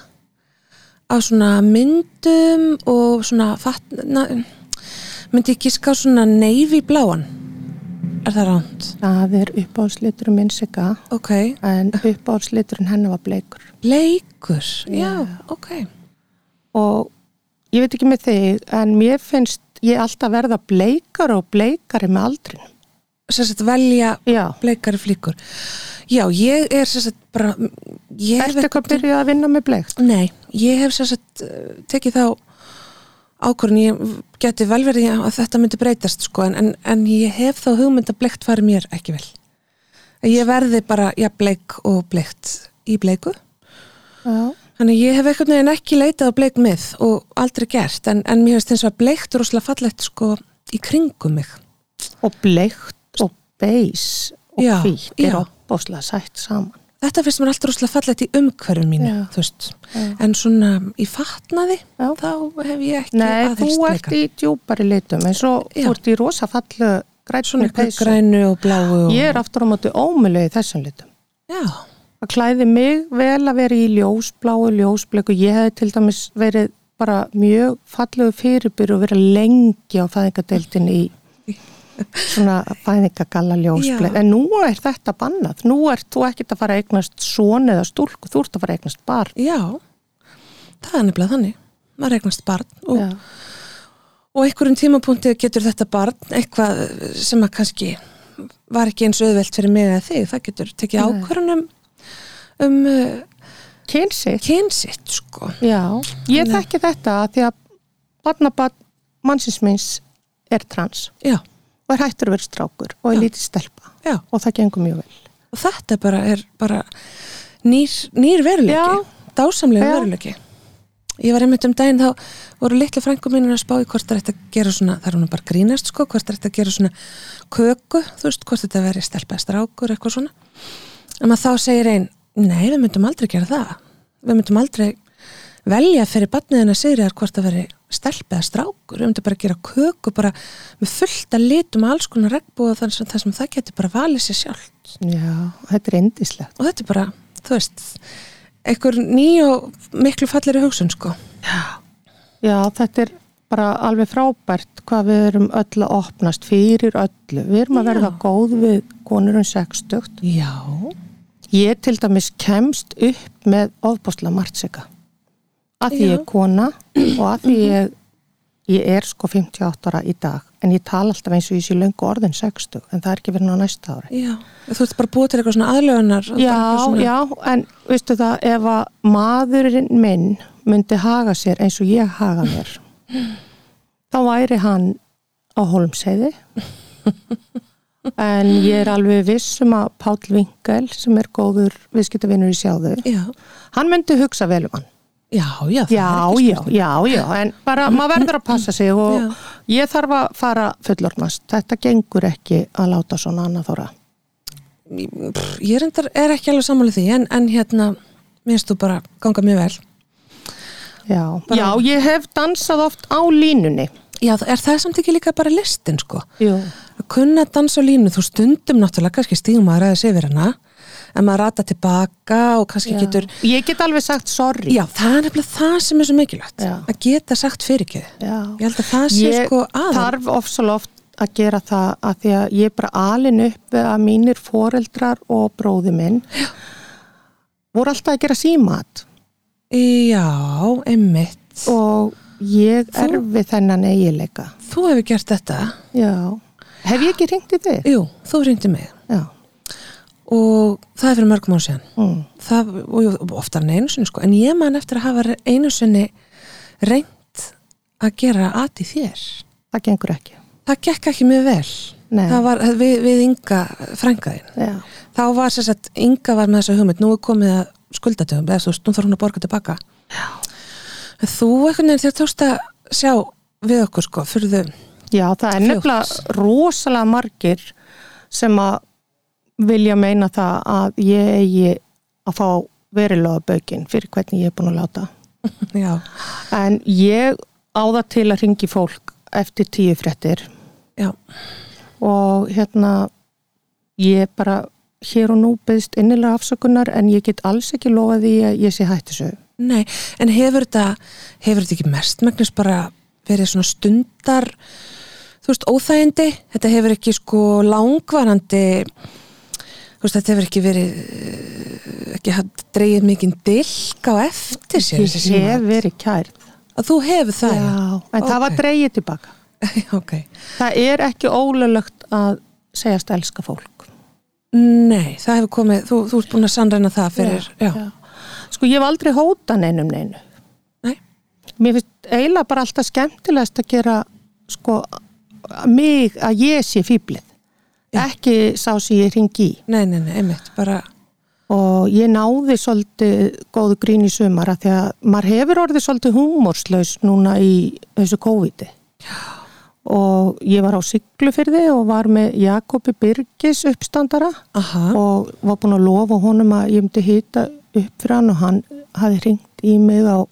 S3: af svona myndum og svona fatna, myndi ég gíska á svona neyfi bláan er það ránt?
S2: Það er uppáhaldsliturinn minn sigga
S3: ok,
S2: en uppáhaldsliturinn henni var bleikur.
S3: bleikur já,
S2: Já.
S3: ok
S2: Og ég veit ekki með þig en mér finnst ég alltaf verða bleikar og bleikari með aldrinum.
S3: sem sagt velja
S2: Já.
S3: bleikari flíkur já, ég er sem sagt bara ég hef
S2: Ertu eitthvað að byrja að vinna með bleikt?
S3: Nei, ég hef sér sett tekið þá ákvörðin, ég geti vel verið að þetta myndi breytast sko, en, en, en ég hef þá hugmynd að bleikt fari mér ekki vel. Ég verði bara, já, bleik og bleikt í bleiku.
S2: Já.
S3: Þannig að ég hef eitthvað neginn ekki leitað á bleik mið og aldrei gert, en, en mér finnst eins og að bleikt rosalega fallegt sko í kringum mig.
S2: Og bleikt og beis og
S3: Já,
S2: hvít
S3: já.
S2: er opbóðslega sætt saman.
S3: Þetta finnst mér alltaf rosalega fallegt í umhverfum mínu,
S2: Já.
S3: þú veist.
S2: Já.
S3: En svona í fatnaði,
S2: Já.
S3: þá hef ég ekki
S2: Nei, þú
S3: aðhyllst
S2: ert í djúpari litum eins og
S3: Já.
S2: þú ert í rosa fallu
S3: Svona
S2: grætsunni
S3: einhver
S2: peysu.
S3: grænu og bláu og...
S2: Ég er aftur á móti ómuleg í þessum litum.
S3: Já,
S2: Það klæði mig vel að vera í ljósbláu, ljósbleiku. Ég hefði til dæmis verið bara mjög fallegu fyrirbyrju og verið lengi á fæðingadeildin í svona fæðingagalla ljósbleik.
S3: Já.
S2: En nú er þetta bannað. Nú ert þú ekkert að fara að eignast son eða stúlku, þú ert að fara að eignast barn.
S3: já, það er nefnilega þannig. Maður eignast barn og,
S2: Já.
S3: og einhverjum tímapunkti getur þetta barn eitthvað sem að kannski var ekki eins auðvelt fyrir mig eða þig. Það getur tekið
S2: Nei.
S3: ákvörunum um uh,
S2: Kynsitt.
S3: kynsitt, sko.
S2: Já, ég þekki þetta að því að barnabarn mannsins minns er trans
S3: Já,
S2: og er hættur að vera strákur og er
S3: Já.
S2: lítið stelpa
S3: já.
S2: og það gengur mjög vel.
S3: Og þetta bara er bara nýr, nýr veruleiki,
S2: Já.
S3: dásamlega
S2: Já.
S3: veruleiki. Ég var einmitt um daginn þá voru litla frængu mínir að spá í hvort það er að gera svona, það er hún bara að grínast sko, hvort það er að gera svona köku, þú veist, hvort þetta veri stelpa eða strákur eitthvað svona. En maður þá segir einn, nei, við myndum aldrei gera það. Við myndum aldrei velja fyrir batniðina sigriðar hvort það veri stelpa eða strákur. Við myndum bara gera köku bara með fullta litum og alls konar regnbúa þar sem, þar sem það geti bara valið sér sjálft
S2: Já, þetta er indislegt.
S3: og þetta er bara, þú veist einhver ný og miklu falleri hugsun sko
S2: Já, þetta er bara alveg frábært hvað við erum öll að opnast fyrir öllu. Við erum að
S3: Já.
S2: verða góð við konur um sextugt.
S3: já,
S2: Ég til dæmis kemst upp með ofbásla martsika. Að því
S3: Já. Mhm.
S2: ég er kona og að því ég, ég er sko 58 ára í dag. En ég tala alltaf eins og ég sé löngu orðin 60 en það er ekki verið ná næsta ári.
S3: já þú veist bara búið til eitthvað svona aðlögunar og bara eitthvað
S2: Já,
S3: svona,
S2: já, en veistu það, ef að maðurinn minn myndi haga sér eins og ég haga mér, þá væri hann á holmseiði. En ég er alveg viss um að Páll Vingel, sem er góður viðskiptavinur í sjáðu,
S3: já,
S2: hann myndi hugsa vel um hann.
S3: já, já, það er
S2: Já,
S3: ekki
S2: já,
S3: spurning.
S2: já, já, en bara maður verður að passa sig og
S3: Já.
S2: ég þarf að fara fullornast. Þetta gengur ekki að láta svona annað þóra.
S3: Pff, ég reyndar er ekki alveg sammála því en, en hérna, minnst þú bara ganga mjög vel
S2: Já. já, ég hef dansað oft á línunni.
S3: já, það- er það samt ekki líka bara listin sko
S2: Jú.
S3: að kunna að dansa á línu, þú stundum náttúrulega kannski stígum maður aðeins yfir hana en maður rata tilbaka og kannski getur
S2: Ég get alveg sagt sorry.
S3: Já, það er nefnilega það sem er svo mikilvægt
S2: Já.
S3: að geta sagt fyrir ekki
S2: Já.
S3: Ég held að það sé
S2: Ég
S3: sko aðan
S2: þarf ofsal oft að gera það að því að ég er bara alin upp við að mínir foreldrar og bróði minn Já. voru alltaf að gera símat
S3: Já, einmitt
S2: og ég
S3: Þú-
S2: er við þennan eigileika.
S3: Þú hefur gert þetta
S2: Já. Hef ég ekki ringt í þig?
S3: Jú, þú ringdi mig
S2: Já.
S3: og það er fyrir mörgum án síðan
S2: Mm.
S3: það, og jú, oftar en einu sinni sko en ég man eftir að hafa einu sinni reynt að gera aðt í þér
S2: Það gengur ekki.
S3: Það gekk ekki mjög vel
S2: Nei.
S3: Það var við, við Inga frængaðin
S2: Já.
S3: þá var sér sett, Inga var með þessa hugmynd nú er komið að skuldatöfum eða þú veist, nú þarf hún að borga tilbaka Já. en þú einhvern veginn þér tókst að sjá við okkur sko, fyrir þau
S2: Já, það er
S3: Fljótt.
S2: nefnilega rosalega margir sem að vilja meina það að ég eigi að fá verilega bökin fyrir hvernig ég er búin að láta.
S3: Já.
S2: En ég áða til að ringi fólk eftir tíu fréttir
S3: Já.
S2: og hérna ég bara hér og nú byggst innilega afsökunar en ég get alls ekki lofað því að ég sé hættisög.
S3: Nei, en hefur þetta, hefur þetta ekki mestmagnis bara verið svona stundar, þú veist, óþægindi? Þetta hefur ekki sko langvarandi, þú veist, þetta hefur ekki verið, eh, ekki hafa dreigið mikinn dilk á eftir sér.
S2: Ég
S3: þessi símar.
S2: hef verið kærð.
S3: Að þú hefur það?
S2: Já, en það var dreigið tilbaka.
S3: dreigið. ok.
S2: Það er ekki ólulegt að segjast elska fólk.
S3: Nei, það hefur komið, þú, þú ert búin að sannreina það fyrir, já.
S2: Sko, ég hef aldrei hóta neinum neinu.
S3: Nei,
S2: Mér finnst eiginlega bara alltaf skemmtilegast að gera, sko, að mig, að ég sé fýblið. Ekki sá sem ég ringi í.
S3: nei, nei, nei, einmitt, bara,
S2: og ég náði svolítið góðu grín í sumar að því að maður hefur orðið svolítið húmórslaus núna í þessu COVID-i og ég var á Siglufyrði og var með Jakobi Birgis uppstandara
S3: aha,
S2: og var búin að lofa honum að ég myndi hýta upp fyrir hann og hann hafi ringt í mig á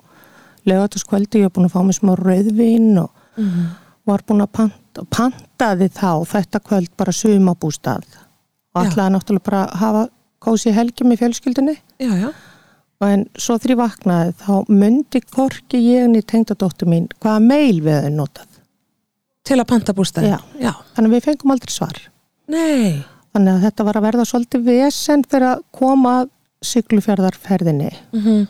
S2: lögataskvöldi, ég var búin að fá mig smá rauðvin og var búin að panta, pantaði þá þetta kvöld bara sumabústað og
S3: Já.
S2: ætlaði náttúrulega bara að hafa kósi helgi með fjölskyldinni
S3: já, já,
S2: og en svo þegar ég vaknaði þá myndi korki ég niður tengdadóttur mín hvaða meil við höfum notað
S3: til að panta bústæði.
S2: Já. þannig að við fengum aldrei svar
S3: Nei,
S2: Þannig að þetta var að verða svolítið vesen fyrir að koma að siglufjörðarferðinni.
S3: mhm.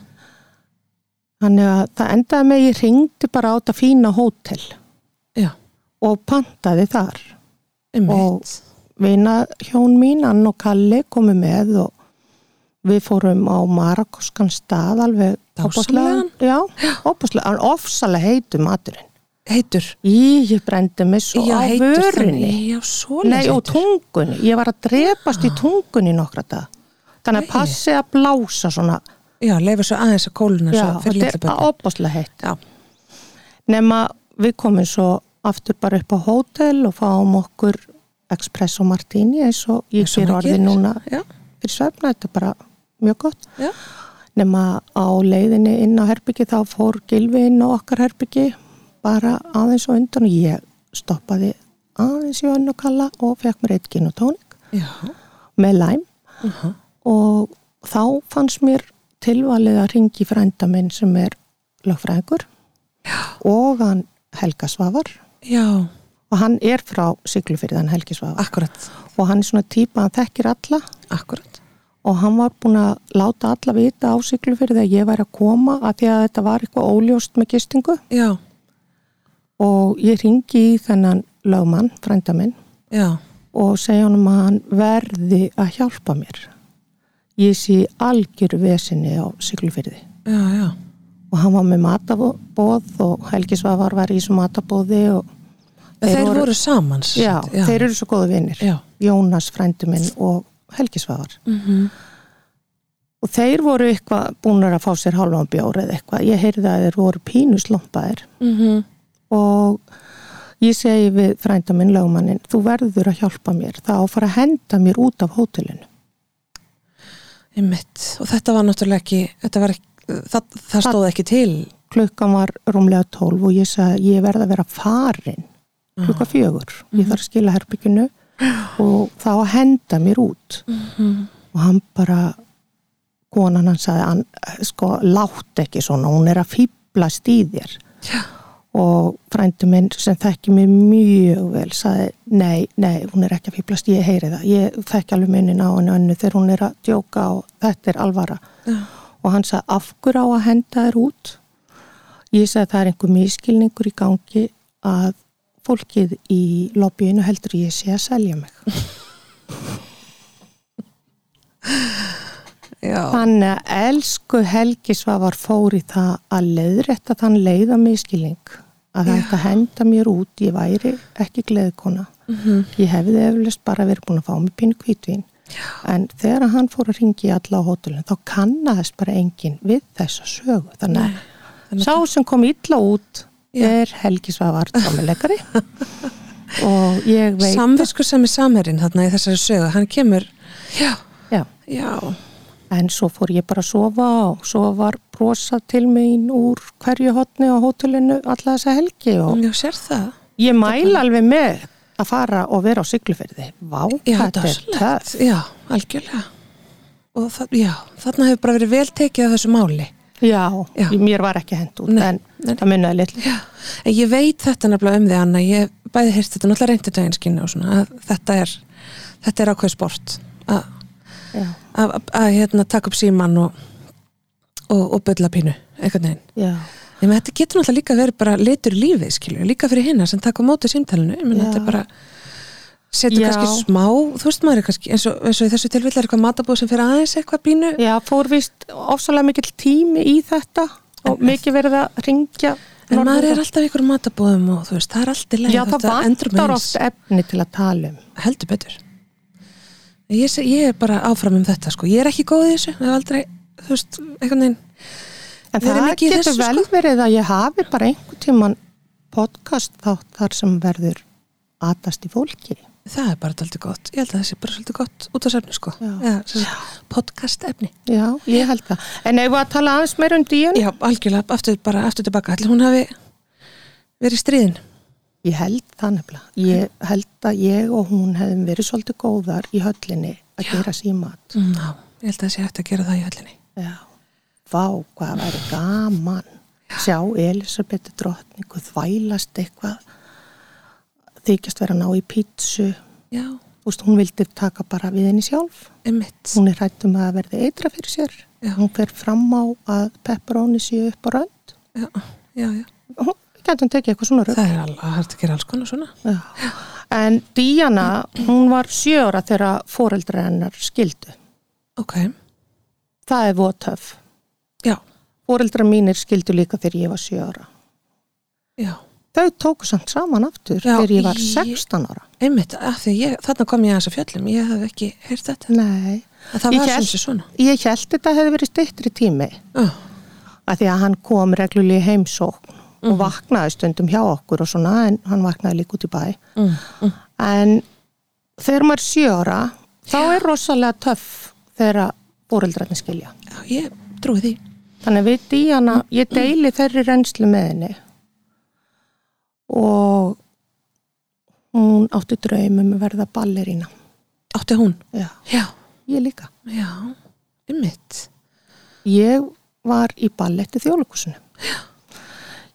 S2: Þannig að það endaði með ég ringdi bara á þetta fína hótel
S3: Já,
S2: og pantaði þar.
S3: einmitt.
S2: Vina hjón mín, Ann og Kalli komu með og við fórum á marakoskan stað alveg
S3: Dásamlegan?
S2: ofboðslega- Já, opaslega, en ofsalega heitu maturinn.
S3: heitur.
S2: Í, ég brendi mig svo á vörinni.
S3: þannig. Já, svoleiðis Ah.
S2: Nei, og
S3: heitur.
S2: tungunni. Ég var að drepast í tungunni í nokkra dag. Þannig að
S3: Æi.
S2: passi að blása svona.
S3: Já, leifa svo aðeins að kóluna
S2: Já,
S3: svo fyrir litlu
S2: þetta er
S3: bönni.
S2: opaslega heitt.
S3: Já,
S2: Nefna við komum svo aftur bara upp á hótel og fáum okkur espresso martini eins og ég
S3: Eins og
S2: sér
S3: maður
S2: orðið
S3: gerir.
S2: núna
S3: Já.
S2: fyrir svefna. Þetta er bara mjög gott.
S3: já,
S2: Nefna á leiðinni inn á herbyggi þá fór Gylfi inn á okkar herbyggi bara aðeins og undan og ég stoppaði aðeins í önn og kalla og fekk mér eitt gin og tónik
S3: já.
S2: með læm
S3: Uh -huh.
S2: og þá fannst mér tilvalið að ringi frænda minn sem er lögfræðingur og hann Helga Svavar
S3: Já,
S2: og hann er frá Siglufyrðan Helgi Svavar
S3: akkurat,
S2: og hann er svona típa, hann þekkir alla
S3: akkurat.
S2: og hann var búin að láta alla vita á Siglufyrði að ég væri að koma að því að þetta var eitthvað óljóst með gistingu
S3: Já,
S2: og ég ringi í þennan lögmann, frænda minn
S3: já,
S2: og segja honum að hann verði að hjálpa mér ég sé í algjör vesinni á Siglufyrði
S3: já, já.
S2: og hann var með matabóð og Helgi Svavar var í þessu matabóði og
S3: Þeir,
S2: Þeir
S3: voru,
S2: voru
S3: saman. sem
S2: já,
S3: sagt,
S2: þeir eru svo góðu vinnir
S3: Já.
S2: Jónas frændi minn og Helgi Svavar
S3: Mhm.
S2: og þeir voru eitthvað búnar að fá sér hálfan bjór eða eitthvað, ég heyrði að þeir voru pínuslampaðir
S3: Mhm.
S2: og ég segi við frænda minn lögmannin, þú verður að hjálpa mér það á að fara að henda mér út af hótelinu
S3: Einmitt. Og þetta var náttúrulega ekki, þetta var ekki, það, það stóð ekki til.
S2: klukkan var rúmlega 12 og ég sagði ég verða að vera farin klukka fjögur, ég þarf að skila herbygginu og þá að henda mér út og hann bara konan hann sagði hann, sko látt ekki svona hún er að fýblast í þér
S3: Já,
S2: og frændi minn sem þekki mig mjög vel sagði nei, nei, hún er ekki að fýblast ég heyri það, ég þekki alveg munin á henni önnu þegar hún er að djóka og þetta er alvara
S3: já,
S2: og hann sagði af hverju á að henda þér út ég sagði það er einhver miskilningur í gangi að fólkið í lobbyinu heldur ég sé að selja mig
S3: já.
S2: þannig að elsku Helgi Svavar fór í það að leiðrætta þann leiða miskilning að það ætti að henda mér út ég væri ekki gleðkona ég hefði eflust bara verið búin að fá mig pínu kvítvin en þegar hann fór að ringi alla á hótelin þá kannaðist bara enginn við þessa sögu þannig að Sá sem kom illa út
S3: Já.
S2: er Helgi Svavar trommuleikari og ég veit
S3: Samvisku sem er samherinn þarna í þessari sögu, hann kemur, já,
S2: já,
S3: já,
S2: en svo fór ég bara að sofa og svo var brosað til mín úr hverju hotni á hótelinu alla þessa helgi og
S3: já, sér það.
S2: ég mæla alveg með að fara og vera á sykluferði Vá,
S3: Já,
S2: þetta er töf
S3: dásalegt. Já, algjörlega. Og það, já, þarna hefur bara verið vel tekið af þessu máli.
S2: Já,
S3: Já.
S2: mér var ekki hend út
S3: Nei,
S2: en
S3: nei.
S2: það munnaði litlu.
S3: Já, en ég veit þetta nefnilega um því Anna, ég hef bæði heyrst þetta náttúrulega reyndi daginskinni og svona að þetta er, þetta er ákveð sport að
S2: Já,
S3: að- að- að, hérna, taka upp síman og, og, og bölla pínu einhvern veginn.
S2: já,
S3: Ég með þetta getur náttúrulega líka verið bara litur í lífið skilju, líka fyrir hinna sem taka á móti símtælinu, menn
S2: Já.
S3: þetta er bara setur
S2: Já.
S3: kannski smá, þú veist maður er kannski eins og, eins og í þessu tilvill er eitthvað matabóð sem fyrir aðeins eitthvað pínu
S2: já, fór víst ofsalega mikill tími í þetta og mikið verið að ringja.
S3: en maður er alltaf í ykkur matabóðum og þú veist, það er alltaf leið
S2: Já, það vantar oft efni til að tala um.
S3: heldur betur ég, sé- ég er bara áfram um þetta sko. ég er ekki góð í þessu ég hef aldrei, þú veist, einhvern veginn
S2: En
S3: Verið
S2: það
S3: mikið í
S2: getur
S3: þessu, sko.
S2: vel verið að ég hafi bara einhvern tíman podcast þátt þar sem verður atast í fólki.
S3: það er bara alltaf gott, ég held að það sé bara svolítið gott út á sefni sko
S2: Já.
S3: Eða, sem sagt, podcast efni
S2: Já, ég held það. En eigum við að tala aðeins meir um díun?
S3: já, algjörlega, aftur bara, aftur tilbaka allir hún hafi verið í stríðin
S2: Ég held það nefnilega. Ég held að ég og hún hefðum verið svolítið góðar í höllinni að gera símat.
S3: já, ég held að það sé eftir að gera það í höllinni
S2: Já. Vá, hvað það væri gaman. Sjá Elisabethu drottningu þvælast eitthvað. Þykjast vera að ná í pítsu.
S3: já,
S2: Þú veist, hún vildi taka bara við henni sjálf.
S3: einmitt
S2: Hún er hættum að verði eitra fyrir sér.
S3: Já.
S2: Hún fer fram á að pepperoni séu upp á rönd.
S3: já, já, já.
S2: Hún getur tekið eitthvað svona rönd.
S3: það er alveg hægt að gera alls konar svona
S2: Já. En Díana, hún var sjö ára þegar foreldra hennar skildu.
S3: ok,
S2: Það er votöf.
S3: já,
S2: Foreldra mínir skildu líka þegar ég var sjö ára.
S3: já
S2: Þau tóku samt saman aftur
S3: Já,
S2: þegar ég var
S3: ég-
S2: 16 ára.
S3: einmitt, af því ég, þarna kom ég að þess að fjöllum ég hef ekki heyrt þetta
S2: Nei,
S3: Að það
S2: Ég
S3: var
S2: hélt-
S3: sem sé svona
S2: ég held þetta hefði verið styttri tími
S3: oh.
S2: að því að hann kom reglulegi heimsókn
S3: Mhm.
S2: og vaknaði stundum hjá okkur og svona en hann vaknaði líka út í bæ.
S3: mm. Mm.
S2: En þegar maður er sjö ára, þá er rosalega töff þegar búrildrarnir skilja.
S3: Já, ég trúi því
S2: Þannig að við Díana, ég deili þeirri reynslu með henni og hún átti draum um að verða ballerína.
S3: átti hún,
S2: Já,
S3: já,
S2: ég líka.
S3: já ymmit,
S2: Ég var í balletti þjóðlukusinu.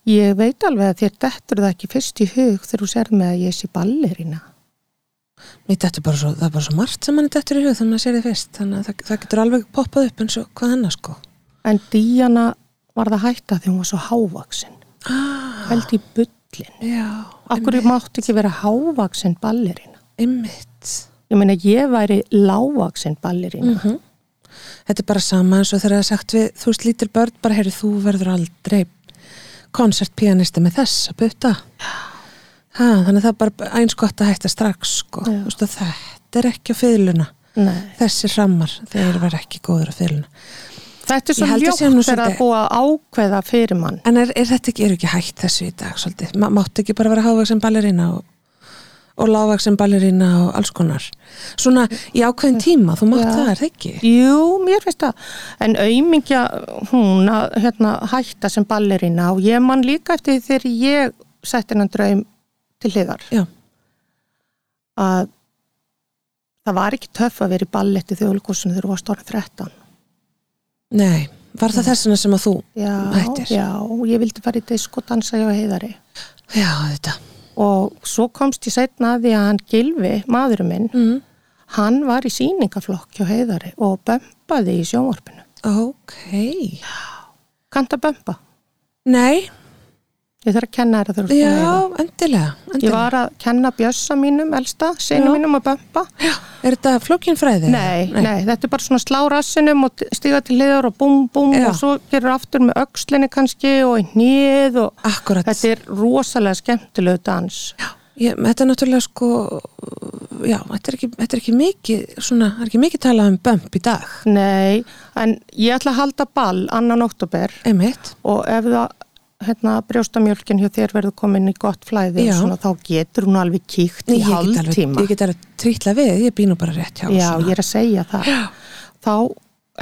S2: Ég veit alveg að þér dettur það ekki fyrst í hug þegar þú serð með að ég sé ballerína.
S3: mér dættu bara svo það er bara svo margt sem hann er dættur í hug þannig að sér þið fyrst þannig að það, það getur alveg poppað upp eins og hvað annars sko
S2: En Díana var það hætta því hún var svo hávaksin.
S3: ah,
S2: Held í bullin.
S3: já,
S2: Akkur ég mátti ekki vera hávaksin ballerína.
S3: ymmit
S2: Ég meina ég væri lávaksin ballerína.
S3: Mhm. þetta er bara sama eins og þegar það er sagt við þú veist lítil börn, bara heyrðu þú verður aldrei konsertpianisti með þess að butta ha, þannig að það er bara eins gott að hætta strax sko,
S2: Já.
S3: þú veist að þetta er ekki á fiðluna
S2: Nei.
S3: þessi hrammar, þeir verða ekki góður á fiðluna
S2: Þetta er svo
S3: Ég held að
S2: ljótt
S3: sé nú
S2: þegar það
S3: svolítið-
S2: er búið að ákveða fyrir mann.
S3: en er, er þetta ekki, er ekki hægt þessu í dag svolítið, Ma, máttu ekki bara vera háveg sem ballerína og, og láveg sem ballerína og alls konar svona í ákveðin tíma, þú mátt
S2: Já.
S3: það er það ekki
S2: Jú, mér finnst það. En aumingja hún að hérna, hætta sem ballerína og ég mann líka eftir því þegar ég setti hennan draum til hliðar.
S3: já,
S2: Að það var ekki töff að vera í balletti þjóðlíkúsinu þegar þú varst orðin 13.
S3: nei, var það þess vegna sem að þú
S2: Já,
S3: hættir
S2: já, ég vildi fara í disk og dansa hjá heiðari.
S3: já þetta
S2: Og svo komst ég setna að því að hann Gilvi, maðurinn minn,
S3: mm.
S2: hann var í sýningaflokk hjá heiðari og bömpaði í sjónvarpinu.
S3: ok
S2: Kanta bömpa.
S3: nei,
S2: Ég þarf að kenna þér að þú ert búin að
S3: já,
S2: heyra.
S3: endilega, endilega.
S2: Ég var að kenna bjössa mínum, elsta, sinu
S3: Já.
S2: mínum að bömpa.
S3: já, er þetta flókin fræði?
S2: Nei, nei, þetta er bara svona slá rassinum og stiga til liðar og búm, búm
S3: Já.
S2: og svo gerur aftur með öxlinni kannski og í hnið og
S3: akkurat
S2: þetta er rosalega skemmtilegu dans.
S3: Ég, þetta er náttúrulega sko já, þetta er ekki, þetta er ekki mikið svona, það er ekki mikið talað um bömp í dag
S2: Nei, en ég ætla að halda ball annan oktober
S3: einmitt,
S2: og ef það hérna, brjóstamjölkin hjá þér verður komin í gott flæði
S3: Já.
S2: og svona þá getur hún alveg kíkt í
S3: ég get alveg,
S2: hálftíma.
S3: ég get alveg trýtla við ég býn nú bara rétt hjá
S2: Já,
S3: svona.
S2: ég er að segja það. Þá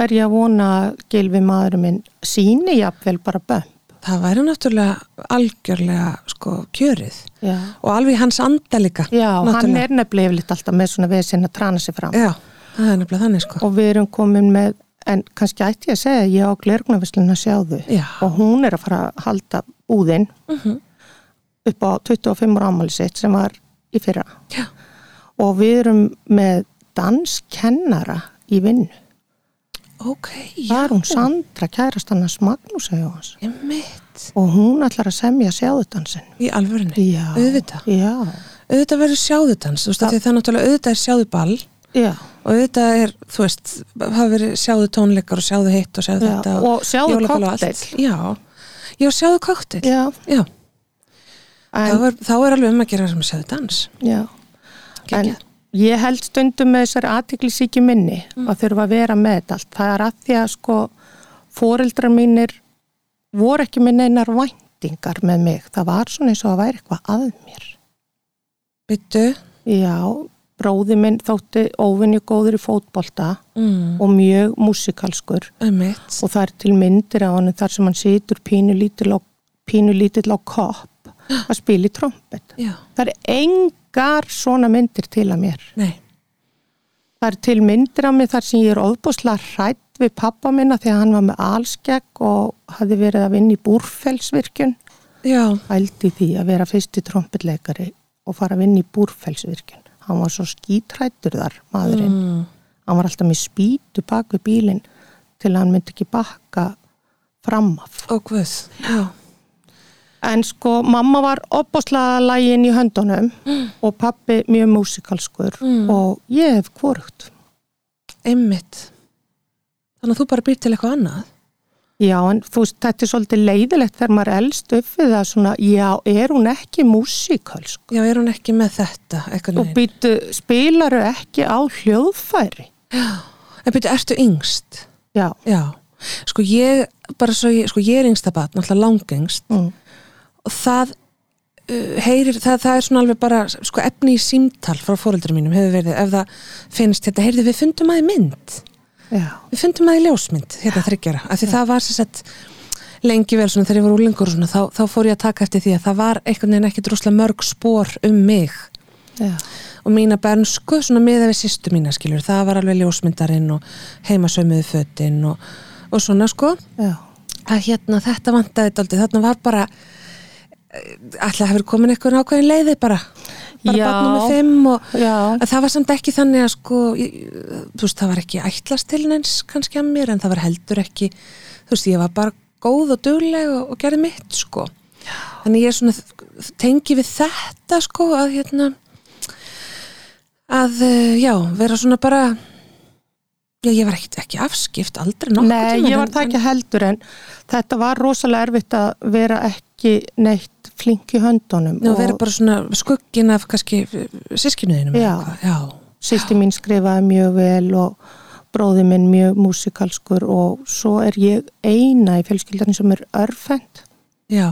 S2: er ég að vona að gilfi maðurinn minn síni jafnvel bara bömp.
S3: það væri náttúrulega algjörlega sko kjörið
S2: Já,
S3: og alveg í hans anda líka
S2: hann
S3: náttúrulega.
S2: er nefnilega yfirleitt alltaf með svona vesinn að trana sig fram.
S3: já, það er nefnilega þannig sko
S2: Og við erum komin með en kannski ætti ég að segja að ég á glergnafisluna sjáðu
S3: Já. Mhm.
S2: og hún er að fara að halda búðinn upp á 25 ára ámæli sitt sem var í fyrra
S3: Já.
S2: og við erum með danskennara í vinnu.
S3: Ok,
S2: Það er hún Sandra kærastannars Magnúsa Jóhans
S3: Ég mitt.
S2: og hún ætlar að semja sjáðudansin.
S3: Í alvörunni.
S2: Já.
S3: Auðvitað.
S2: Já,
S3: Auðvitað verður sjáðudans, þú veist, af því að það er náttúrulega auðvitað er sjáðuball
S2: já.
S3: og auðvitað er, þú veist, hafa verið sjáðu tónleikar og sjáðu hitt og sjáðu
S2: Já,
S3: þetta
S2: og sjáðu
S3: jólaball og allt.
S2: kokteil.
S3: Já, já, sjáðu kokteil.
S2: Já,
S3: Já, þá
S2: en,
S3: er, þá er alveg um að gera sem sjáðu dans.
S2: já. en
S3: Geggjað.
S2: ég held stundum með þessari aðtiklisíki minni
S3: Mm.
S2: að þurfa að vera með þetta allt. Það er að því að sko fóreldrar mínir voru ekki með neinar væntingar með mig. Það var svona eins og að væri eitthvað að mér.
S3: Byttu.
S2: Já, bróði minn þótti óvinni góður í fótbolta
S3: Mm.
S2: og mjög músikalskur
S3: Ömmitt.
S2: og það er til myndir af honum þar sem hann situr pínu lítill á, pínu lítill á kopp að spila í trompet.
S3: Já.
S2: Það er engar svona myndir til að mér.
S3: Nei.
S2: Það er til myndir af mér þar sem ég er ofbúslega hrætt við pappa minna því að hann var með allskegg og hafði verið að vinna í búrfellsvirkjun.
S3: Já.
S2: Ældi því að vera fyrsti trompetleikari og fara að vinna í búrfellsvirkjun. Hann var svo skítrættur þar, maðurinn.
S3: Mm,
S2: Hann var alltaf með spýtu bak við bílinn til að hann myndi ekki bakka fram af.
S3: Og guð. Já.
S2: En sko, mamma var opbáslega lægin í höndunum og pappi mjög músikalskur og ég hef kvorugt.
S3: Ömmitt. Þannig að þú bara býr til eitthvað annað.
S2: Já, en þú veist, þetta er svolítið leiðilegt þegar maður elst upp við það svona, já, er hún ekki músikalsk?
S3: Já, er hún ekki með þetta, eitthvað
S2: Og býtu, spilaru ekki á hljóðfæri?
S3: En byrju, ertu yngst?
S2: Já,
S3: Já. Sko ég, bara svo ég, sko ég er yngsta batn, alltaf langengst
S2: mm.
S3: og það uh, heyrir, það, það er svona alveg bara sko efni í símtal frá fóreldur mínum hefur verið, ef það finnst, hérna, heyrðu við fundum að í mynd,
S2: já,
S3: við fundum að í ljósmynd, hérna þryggjara, af því það var sér sett lengi vel svona þegar ég var úlingur og svona, þá, þá fór ég að taka eftir því að það var einhvern veginn ekki droslega mörg spór um mig
S2: já,
S3: og mína bernsku, svona miða við sýstu mína skilur, það var alveg ljósmyndarinn og heimasömuðu fötin og, og svona sko,
S2: já,
S3: að hérna þetta vantaði daldið, þarna var bara eh, alltaf hefur komin eitthvað nákvæðin leiði bara, bara
S2: Já.
S3: barnum með fimm og
S2: já,
S3: að það var samt ekki þannig að sko, ég, þú veist, það var ekki ætlast til neins kannski að mér en það var heldur ekki, þú veist, ég var bara góð og dugleg og, og gerði mitt sko, þannig ég er svona tengi við þetta sko að hérna að eh, já, vera svona bara já, ég var ekki, ekki afskipt aldrei nokkuð
S2: Nei, ég var það ekki heldur en þetta var rosalega erfitt að vera ekki neitt flink í höndunum
S3: Nú verið bara svona skuggin af kannski eh, sískinuðinum
S2: Já.
S3: já,
S2: sýsti mín skrifaði mjög vel og bróði minn mjög músikalskur og svo er ég eina í fjölskyldarni sem er örfend
S3: já,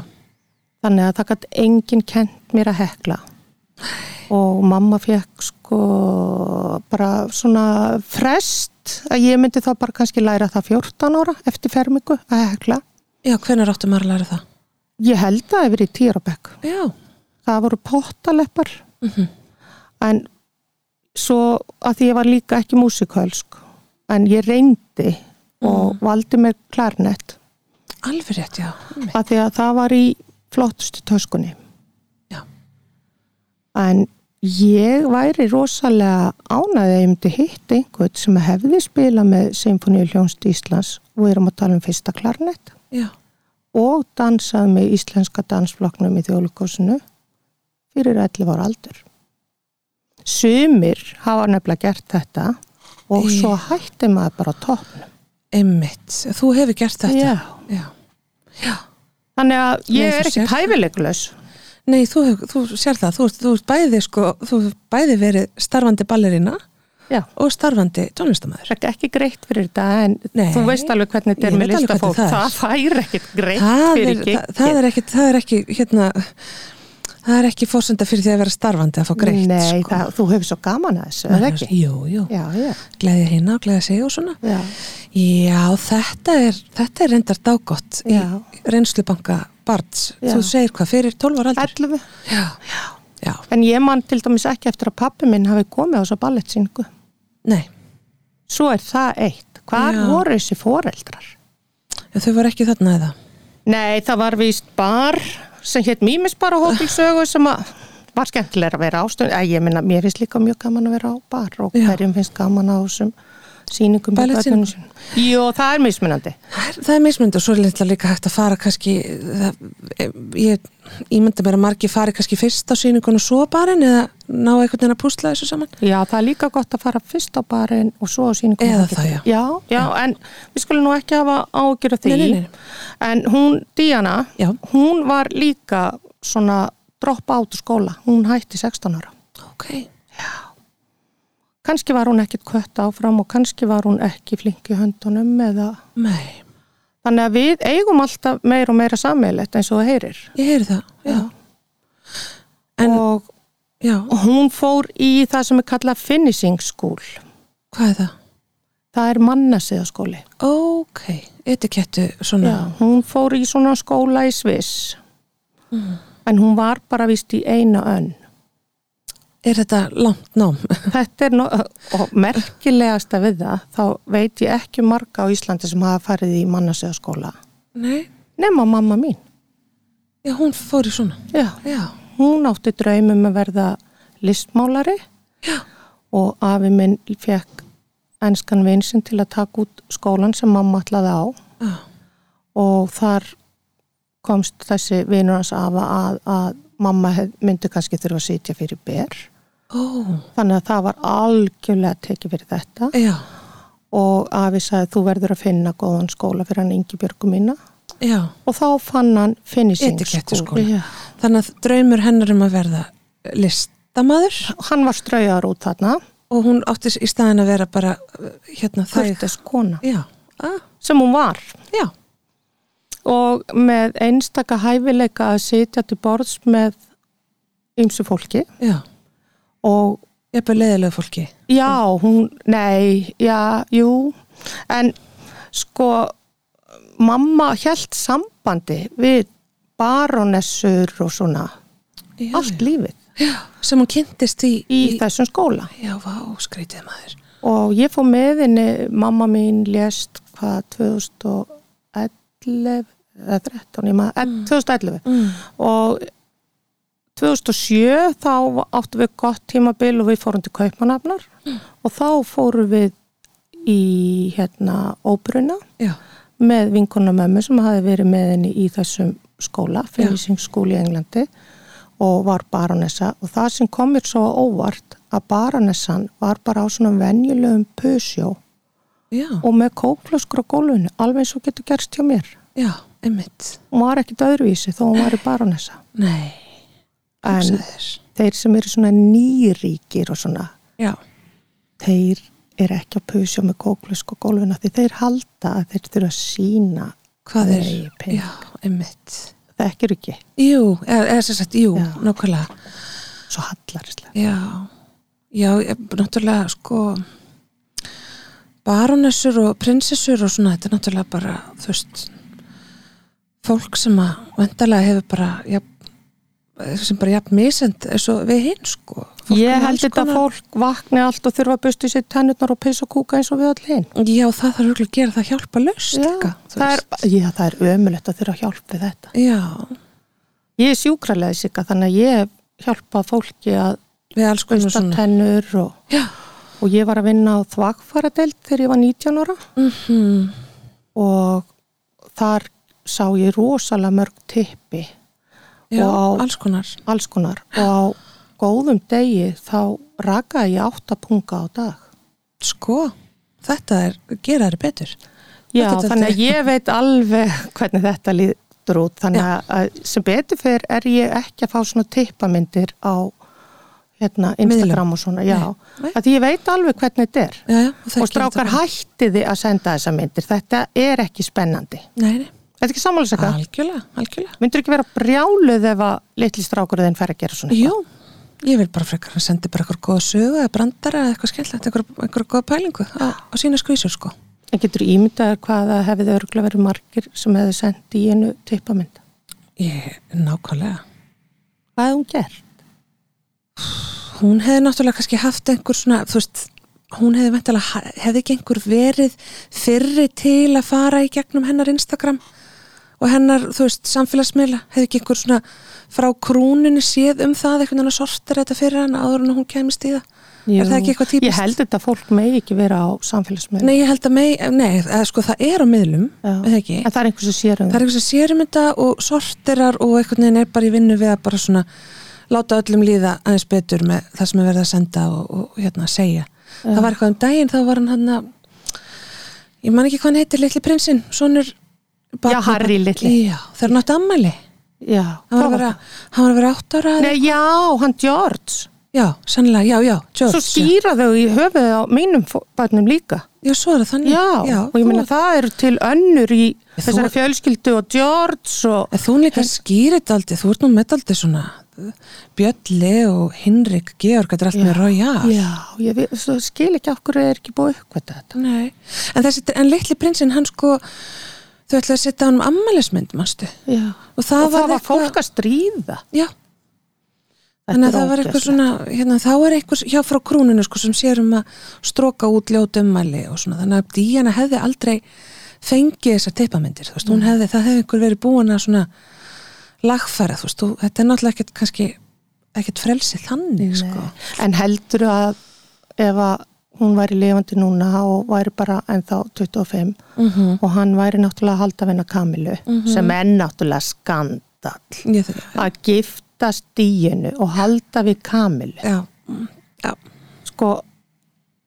S2: þannig að það gætt enginn kent mér að hekla og mamma fekk sko bara svona frest að ég myndi þá bara kannski læra það 14 ára eftir fermingu að hekla
S3: já, hvenær áttu maður að læra það?
S2: ég held að það hefur í týrabekk
S3: Já,
S2: það voru pottaleppar en svo að því ég var líka ekki músikalsk en ég reyndi og valdi mér klarnett
S3: alveg rétt, já
S2: að því að það var í flottustu töskunni
S3: Já.
S2: en ég væri rosalega ánaði að ég myndi hitta einhvern sem hefði spilað með Symfóníu Hljónst Íslands og við erum að tala um fyrsta klarnett
S3: Já,
S2: og dansað með íslenska dansflokknum í þjóðlugkosinu fyrir 11 ára aldur. Sumir hafa nefnilega gert þetta og svo hætti maður bara á toppnum.
S3: einmitt, þú hefur gert þetta
S2: Já.
S3: já.
S2: Þannig að
S3: Nei,
S2: ég
S3: þú
S2: er ekki
S3: sérð það.
S2: hæfileglös.
S3: Nei, þú, hef, þú sér það, þú, ert- þú ert bæði sko, þú hefur bæði verið starfandi ballerina
S2: Já.
S3: og starfandi tónlistamæður
S2: Það er ekki greitt fyrir þetta en
S3: Nei.
S2: þú veist alveg hvernig þetta
S3: Ég
S2: er með
S3: veit alveg
S2: listafólk.
S3: hvernig það
S2: Það,
S3: er.
S2: fær ekkit greitt
S3: það er,
S2: fyrir ekki.
S3: það, það er ekki, það er ekki hérna, það er ekki fórsenda fyrir því að vera starfandi að fá greitt
S2: Nei,
S3: sko.
S2: það, þú hefur svo gaman að þessu, eða ekki?
S3: Jú, jú,
S2: Já, já.
S3: gleðja hérna og gleðja sig og svona
S2: Já.
S3: Já, þetta er, þetta er reyndar dágott í
S2: Já.
S3: reynslubanka Barts.
S2: Já.
S3: Þú segir hvað, fyrir 12 ára aldur?
S2: 11.
S3: Já. Já.
S2: En ég man til dæmis ekki eftir að pappi minn hafi komið á svo ballettsýningu.
S3: Nei,
S2: svo er það eitt. Hvar
S3: Já.
S2: voru þessi foreldrar?
S3: En þau voru ekki þarna eða?
S2: Nei, það var víst bar sem hétt Mímisbar og hópilsögu sem að var skemmtilega að vera ástund. Æ, ég minna, mér finnst líka mjög gaman að vera á bar og
S3: Já.
S2: hverjum finnst gaman á þessum sýningum. með
S3: Ballettsýningum.
S2: börnunum sínum. Jú, það er mismunandi.
S3: Það er- Það er mismund og svo er litla líka hægt að fara kannski, það, e, ég ímynda mér að margir fari kannski fyrst á sýningun og svo barinn eða ná einhvern veginn að púsla þessu saman.
S2: Já, það er líka gott að fara fyrst á barinn og svo á síningum.
S3: Eða
S2: Margrétar.
S3: það, já.
S2: Já, já, en við skulum nú ekki hafa ágjur af því.
S3: Nei, nei, nei.
S2: En hún, Díana,
S3: Já.
S2: hún var líka svona droppa át úr skóla. Hún hætti 16 ára.
S3: Ok,
S2: Kanski var hún ekkit kött áfram og kanski var hún ekki flink í höndunum eða...
S3: nei,
S2: Þannig að við eigum alltaf meira og meira sammeilett eins og það heyrir.
S3: ég heyri það, já. En,
S2: Og
S3: já,
S2: hún fór í það sem er kallað finishing school.
S3: hvað er það?
S2: Það er mannasiðaskóli.
S3: Ok, etikettu svona,
S2: Já, hún fór í svona skóla í Sviss en hún var bara vist í eina önn
S3: er þetta langt nám?
S2: þetta er no og merkilegasta við það þá veit ég ekki marga á Íslandi sem hafa farið í mannasöðaskóla
S3: nei,
S2: nema mamma mín
S3: já, hún fór í svona,
S2: Já,
S3: já,
S2: hún átti draumum að verða listmálari
S3: já,
S2: og afi minn fekk enskan vinsinn til að taka út skólan sem mamma ætlaði á
S3: já,
S2: og þar komst þessi vinur hans afa að, að mamma hef, myndi kannski þurfa að sitja fyrir ber
S3: ó,
S2: þannig að það var algjörlega tekið fyrir þetta
S3: já,
S2: og afi sagði þú verður að finna góðan skóla fyrir hann yngi björgu mína
S3: já,
S2: og þá fann hann finishing
S3: Etikettuskóla.
S2: skóla. Já.
S3: þannig að draumur hennar um að verða listamaður
S2: hann var straujar út þarna
S3: og hún átti í staðin að vera bara uh, hérna þæg
S2: þurftis kona
S3: já, ah,
S2: sem hún var
S3: já,
S2: og með einstaka hæfileika að sitja til borðs með ymsu fólki
S3: já
S2: og
S3: ég er bara leiðilega fólki
S2: Já, hún, nei, já, jú, en sko, mamma held sambandi við baronessur og svona,
S3: já,
S2: allt lífið
S3: já, sem hún kynntist í,
S2: í, þessum skóla.
S3: já, vá, skrítið maður
S2: Og ég fór með henni, mamma mín lést hvað 2011, eða 13, ég maður, mm. 2011.
S3: mm.
S2: Og 2007 þá áttum við gott tímabil og við fórum til Kaupmanafnar og þá fórum við í hérna óbruna
S3: já,
S2: með vinkona mömmu sem hafi verið með henni í þessum skóla, fylýsingsskóli í Englandi og var baronessa og það sem kom mér svo á óvart að baronessan var bara á svona venjulegum pusjó
S3: já,
S2: og með kóklöskur á gólfinu alveg eins og getur gerst hjá mér
S3: já, einmitt
S2: hún var ekkit öðruvísi þó hún var í baronessa
S3: nei,
S2: en
S3: hugsaðir
S2: þeir sem eru svona nýríkir og svona,
S3: já,
S2: þeir eru ekki að pusja með kóklösk og gólfina því þeir halda að þeir þurfa að sína
S3: hvað er
S2: Nei, pink.
S3: já, einmitt
S2: það ekki er ekki,
S3: jú, eða, eða sem sagt, jú,
S2: Já.
S3: nákvæmlega
S2: svo hallarislega
S3: Já, já, ég- náttúrulega sko barónessur og prinsessur og svona, þetta er náttúrulega bara, þú veist fólk sem að vendarlega hefur bara ja, sem bara jafn misend eins og við hinn sko Fólk
S2: Ég
S3: með
S2: held
S3: alls
S2: þetta að
S3: konar-
S2: fólk vakni allt og þurfa að busti sér tennurnar og pissa og kúka eins og við allir hinn.
S3: Já, það þarf örugglega að gera það hjálpa löst
S2: Já, það er, já, það er ömulegt að þurfa að hjálpa við þetta.
S3: Já,
S2: Ég er sjúkralega sikka þannig að ég hjálpa fólki að
S3: við alls konar
S2: busta
S3: svona
S2: tennur og,
S3: Já,
S2: og ég var að vinna á þvagfaradeld þegar ég var 19 ára
S3: mm
S2: Mhm. og þar sá ég rosalega mörg tippi
S3: já
S2: Og á-
S3: alls konar
S2: alls konar og á góðum degi þá rakaði ég átta punga á dag.
S3: Sko, þetta er, gera þeir betur
S2: Já,
S3: Þetta-
S2: þannig að ég veit alveg hvernig þetta lítur út þannig að sem betur fyrir er ég ekki að fá svona tippamindir á hérna, Instagram og svona, já
S3: Nei, nei.
S2: að því ég veit alveg hvernig þetta er
S3: Já, já, og þekkir
S2: og strákar
S3: þetta bara.
S2: hættiði að senda þessa myndir þetta er ekki spennandi
S3: Nei, nei
S2: Þetta er ekki sammálisaka,
S3: Algjörlega, algjörlega.
S2: myndur ekki vera brjáluð ef að litli strákur þinn fær að gera svona
S3: Jú, ég vil bara frekar að sendi bara eitthvað góða sögu eða brandara eða eitthvað skemmtilegt, eitthvað, eitthvað góða pælingu á, á sína skvísur sko.
S2: En getur ímyndaður hvað það hefði örgulega verið margir sem hefði sendið í einu tippamynd
S3: Ég, nákvæmlega.
S2: Hvað hefði hún gert?
S3: Hún hefði náttúrulega kannski haft einhver svona, þú veist, hún hefði væntalega, hefði ekki einhver verið fyrri til að fara í gegnum hennar Instagram og hennar, þú veist, samfélagsmiðla hefði ekki einhver svona frá krúnunni séð um það, einhvern veginn að sortir þetta fyrir hann áður en hún kemist í það
S2: Jú,
S3: er það ekki eitthvað
S2: Ég
S3: típist?
S2: held þetta fólk megi ekki vera á samfélagsmiðlum.
S3: Nei, ég held að mei, nei, eða sko það er á miðlum,
S2: Já.
S3: eða ekki
S2: En það er einhversu sérum.
S3: það er eitthvað sem sér um þetta og sortirar og einhvern veginn er bara í vinnu við að bara svona láta öllum líða aðeins betur með það sem er verið að senda og, og hérna að segja það var eitthvað um daginn, þá var hann hann að ég man ekki hvað hann heitir, litli prinsinn sonur barna-
S2: Harry litli.
S3: já, þegar hann átti ammæli hann
S2: Já,
S3: var
S2: hvað
S3: að vera, hann var að vera átt ára
S2: Nei, já, hann George.
S3: já, sannlega, já, já, George
S2: Svo skýra þau í höfuðið á mínum fó- barnum líka.
S3: já, svo er það þannig
S2: Já, og ég
S3: Mm. þú-
S2: meina það eru til önnur í
S3: Þú-
S2: þessari fjölskyldu og George og...
S3: En þú líka skýrit aldrei, þú ert nú með aldrei svona Bjölli og Hinrik Georg, þetta er allt með royal
S2: Já, ég vi- svo skil ekki af hverju er ekki búið að uppkvæta þetta.
S3: Nei, en, þessi, en litli prinsinn hann sko þau ætlaði að setja hann um ammælismynd, manstu
S2: Já.
S3: og það
S2: og það var
S3: eitthvað-
S2: fólk að stríða.
S3: já,
S2: Þetta
S3: þannig að
S2: er
S3: það var eitthvað
S2: ógeðslegt.
S3: svona hérna, þá er eitthvað hjá frá krúninu sko sem sér um að stróka út ljót ummæli og svona, þannig að Díana hefði aldrei fengið þessar teipamyndir þú veist,
S2: Mm.
S3: hún hefði, það hefði einhver verið búin að svona lagfæra, þú veist, þú, þetta er náttúrulega ekkert kannski, ekkert frelsi þannig, sko
S2: En heldur að ef að hún væri lifandi núna og væri bara ennþá 25 og hann væri náttúrulega að halda vinna Kamilu sem er náttúrulega skandall
S3: Ég þekki það.
S2: að gifta stíinu og halda við Kamilu
S3: Já, mm, já,
S2: sko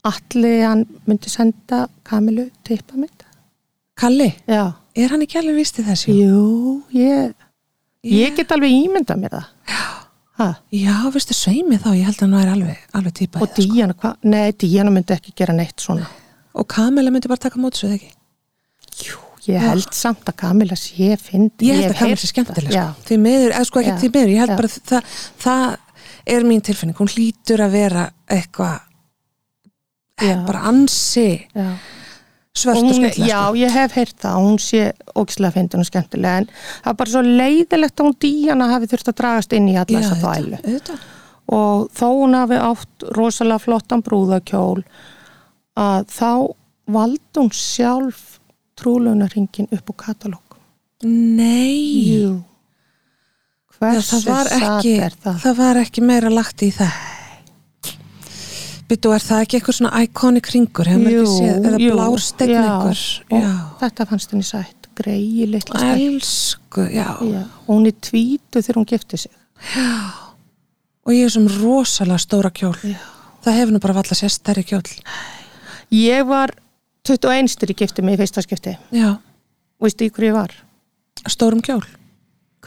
S2: allir hann myndi senda Kamilu tippa mitt
S3: Kalli
S2: Já,
S3: er hann ekki alveg víst í þessu?
S2: jú, ég ég get alveg ímyndað mér það Já
S3: Já, veistu, sveimi þá, ég held að hann væri alveg, alveg típa
S2: Og Díana, hva? Nei, Díana myndi ekki gera neitt svona
S3: og Kamila myndi bara taka mótis við ekki
S2: Jú, ég held samt að Kamila sé fyndi.
S3: Ég held að Kamila sé skemmtileg
S2: Já,
S3: sko. því miður, eða sko ekki
S2: Já.
S3: því miður ég held
S2: Já.
S3: bara að það, það er mín tilfinning, hún hlýtur að vera eitthvað eh,
S2: já,
S3: bara ansi
S2: já. Og
S3: svört og
S2: Hún,
S3: skemmtileg
S2: já,
S3: sko.
S2: ég hef heyrt það, að hún sé ógislega fyndin og skemmtileg en það er bara svo leiðilegt að hún Díana hafi þurft að dragast inn í alla þessa þvælu
S3: auðvitað, auðvitað.
S2: og þó hún hafi átt rosalega flottan brúðakjól að þá vald hún sjálf trúlunarringin upp á katalóg
S3: Nei
S2: Jú
S3: Já,
S2: Hversu
S3: það, var ekki,
S2: satt er
S3: það.
S2: það?
S3: var ekki meira lagt í það Byttu, er það ekki eitthvað svona iconic ringur, hefur maður ekki séð eða blár
S2: já.
S3: stegnengur
S2: Og Þetta fannst henni sætt, greiði litla stelpa.
S3: Elsku, já.
S2: Já, og hún er tvítu þegar hún gifti sig
S3: Og ég er sem rosalega stóra kjól. Það hefur nú bara valla sér stærri kjól.
S2: ég var 21 styrir gifti mig í fyrsta skipti
S3: Já.
S2: og veistu í hverju ég var?
S3: Stórum kjól.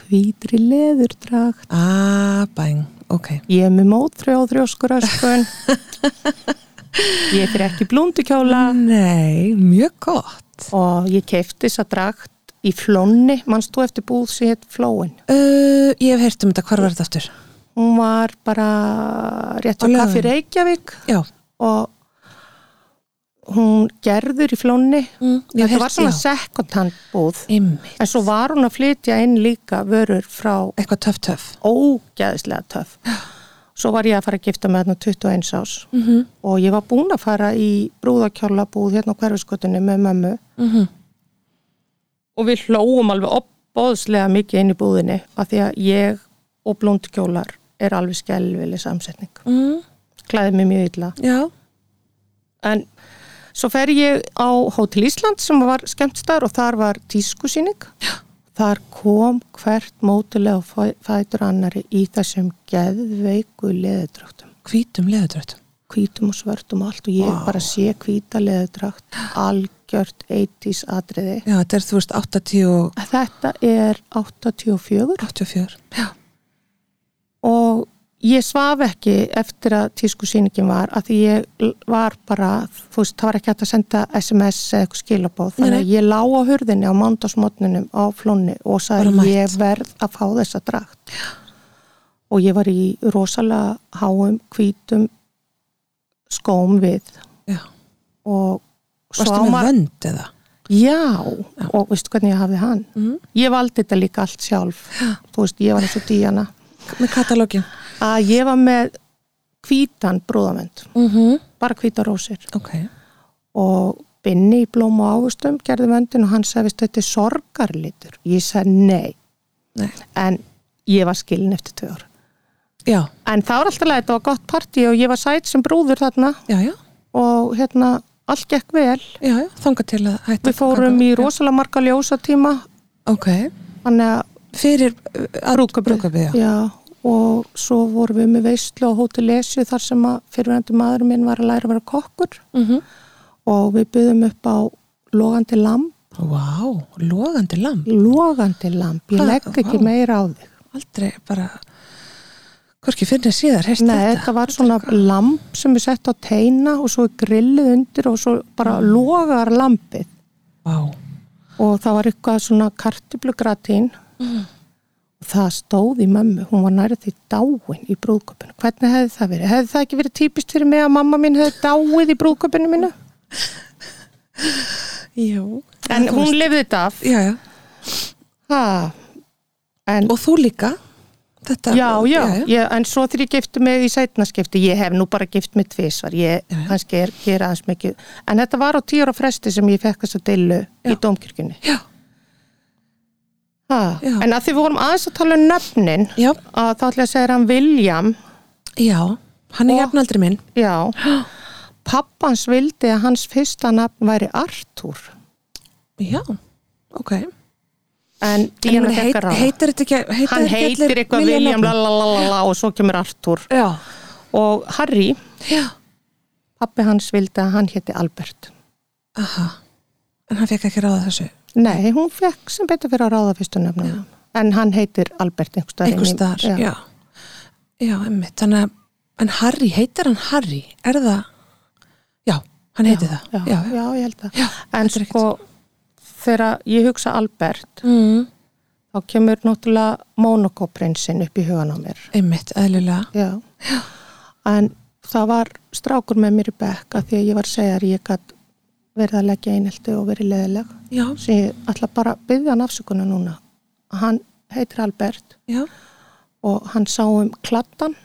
S2: hvítri leðurdrag
S3: Ah, bæn, ok.
S2: ég er með mótri og þrjóskur öskun ég fyrir ekki blúndu kjóla
S3: Nei, mjög gott.
S2: og ég keifti þessa dragt í flónni, mannst þú eftir búð sem hétt flóin
S3: Uh, ég hef heyrt um þetta, hvar var þetta aftur?
S2: hún var bara rétt á
S3: Á
S2: kaffi
S3: Laugaveginum.
S2: Reykjavík
S3: Já.
S2: og hún gerður í flónni
S3: Mm, ég hef
S2: þetta
S3: heyrt-
S2: var svona
S3: já.
S2: second hand búð
S3: Ymmi.
S2: en svo var hún að flytja inn líka vörur frá
S3: Eitthvað töff töff.
S2: ógæðislega töf svo var ég að fara að gifta með hérna 21 ás
S3: Mhm.
S2: og ég var búin að fara í brúðakjólabúð hérna á hverfiskotinu með mömmu
S3: Mhm.
S2: og við hlóum alveg opbóðslega mikið inn í búðinni af því að ég og blóndkjólar er alveg skelvileg samsetning
S3: Mm,
S2: klæði mig mjög illa
S3: já.
S2: en svo fer ég á Hótel Ísland sem var skemmtstar og þar var tískusýning þar kom hvert mótilega og fæ- fætur annari í þessum geðveiku leðudragtum
S3: Hvítum leðutrött.
S2: hvítum og svörtum og allt og ég bara sé hvíta leðudragt algjört 80s atriði
S3: Já, þetta er, þú veist, 80 og
S2: þetta er 84
S3: 84. Já.
S2: og ég svaf ekki eftir að tískusýningin var að því ég l- var bara þú veist, það var ekki hægt að senda sms eða eitthvað skilabóð, þannig
S3: Nei,
S2: að ég lá á hurðinni á mándagsmotnunum á flónni og sagði
S3: Bara mætt.
S2: ég verð að fá þessa drakt og ég var í rosalega háum, hvítum skóm við
S3: Já.
S2: og
S3: Varstu
S2: á
S3: með
S2: maður-
S3: vönd eða?
S2: Já, og veistu hvernig ég hafði hann
S3: Mm.
S2: ég valdi þetta líka allt sjálf þú veist, ég var eins og díjana
S3: Með katalógin.
S2: að ég var með hvítan brúðamönd,
S3: mm -hmm.
S2: bara hvítar rósir
S3: ok
S2: og binni í blóm og ávustum gerði vöndin og hann sagði veist þetta er sorgarlitur ég sagði nei
S3: Nei.
S2: en ég var skilin eftir tvö ár
S3: já,
S2: en það var alltaf leið, þetta var gott partí og ég var sætt sem brúður þarna
S3: já, já,
S2: og hérna allt gekk vel
S3: já, já þanga til að hætta
S2: við fórum í rosalega marga ljósatíma
S3: ok,
S2: þannig að
S3: fyrir brúkabið, já.
S2: já, og svo vorum við með veistlu á Hótel Esju þar sem að fyrirvendu maður minn var að læra að vera kokkur
S3: Mm -hmm.
S2: og við byggðum upp á logandi lamb
S3: Vá, logandi lamp
S2: logandi lamp, ég
S3: Ha,
S2: legg ekki
S3: vá.
S2: meira á þig
S3: aldrei bara hvorki fyrir síðar heist
S2: Nei, þetta var svona lamp sem er sett á teina og svo er grillið undir og svo bara logar lampið
S3: Vá,
S2: og það var eitthvað svona kartiblugratín mm. það stóð í mömmu, hún var nærið því dáin í brúðköpunum, hvernig hefði það verið? Hefði það ekki verið típist fyrir mig að mamma mín hefði dáið í brúðköpunum mínu?
S3: jú
S2: En hún lifði þetta af
S3: já, já.
S2: ha, en,
S3: og þú líka þetta,
S2: Já, já, Ég, en svo þegar ég gifti mig í sætnaskipti, ég hef nú bara gift mig tvisvar, ég
S3: Já, já.
S2: kannski er, gera aðeins mikið, en þetta var á tíur á fresti sem ég fekk þess að deilu í domkirkjunni.
S3: já,
S2: Ha,
S3: Já.
S2: en að því við vorum aðeins að tala um nöfnin,
S3: já,
S2: að þá ætla ég að segja hann William,
S3: já. hann er
S2: Og-
S3: jafnaldri minn
S2: já, pappans vildi að hans fyrsta nafn væri Artur,
S3: já, ok
S2: en
S3: En ég
S2: Díana
S3: meina,
S2: fekk að ráða.
S3: heitir þetta ekki heitir
S2: hann
S3: þetta ekki
S2: heitir
S3: allir
S2: eitthvað
S3: William
S2: William,
S3: nafnum?
S2: lalalala, og svo kemur Artur.
S3: já,
S2: Og Harry,
S3: já,
S2: pappi hans vildi að hann héti Albert.
S3: aha en hann fekk ekki ráða þessu
S2: Nei, hún fekk sem betur fyrir að ráða fyrstu nefnum. En hann heitir Albert einhverstaðar.
S3: einhvers staðar, já já, emmitt, þannig að en Harry, heitir hann Harry, er það já, hann heitir
S2: Já,
S3: það
S2: já, ég held að.
S3: Já,
S2: en
S3: þetta er
S2: sko, þegar ég hugsa Albert,
S3: Mm,
S2: þá kemur náttúrulega Monaco prinsinn upp í hugan á mér.
S3: einmitt, eðlilega
S2: Já. En það var strákur með mér í bekk að því að ég var að segja að ég gætt verið að leggja einhelti og verið leðileg.
S3: já,
S2: Svo ég ætla bara að byggja hann afsökunar núna. Hann heitir Albert
S3: já,
S2: og hann sá um klattan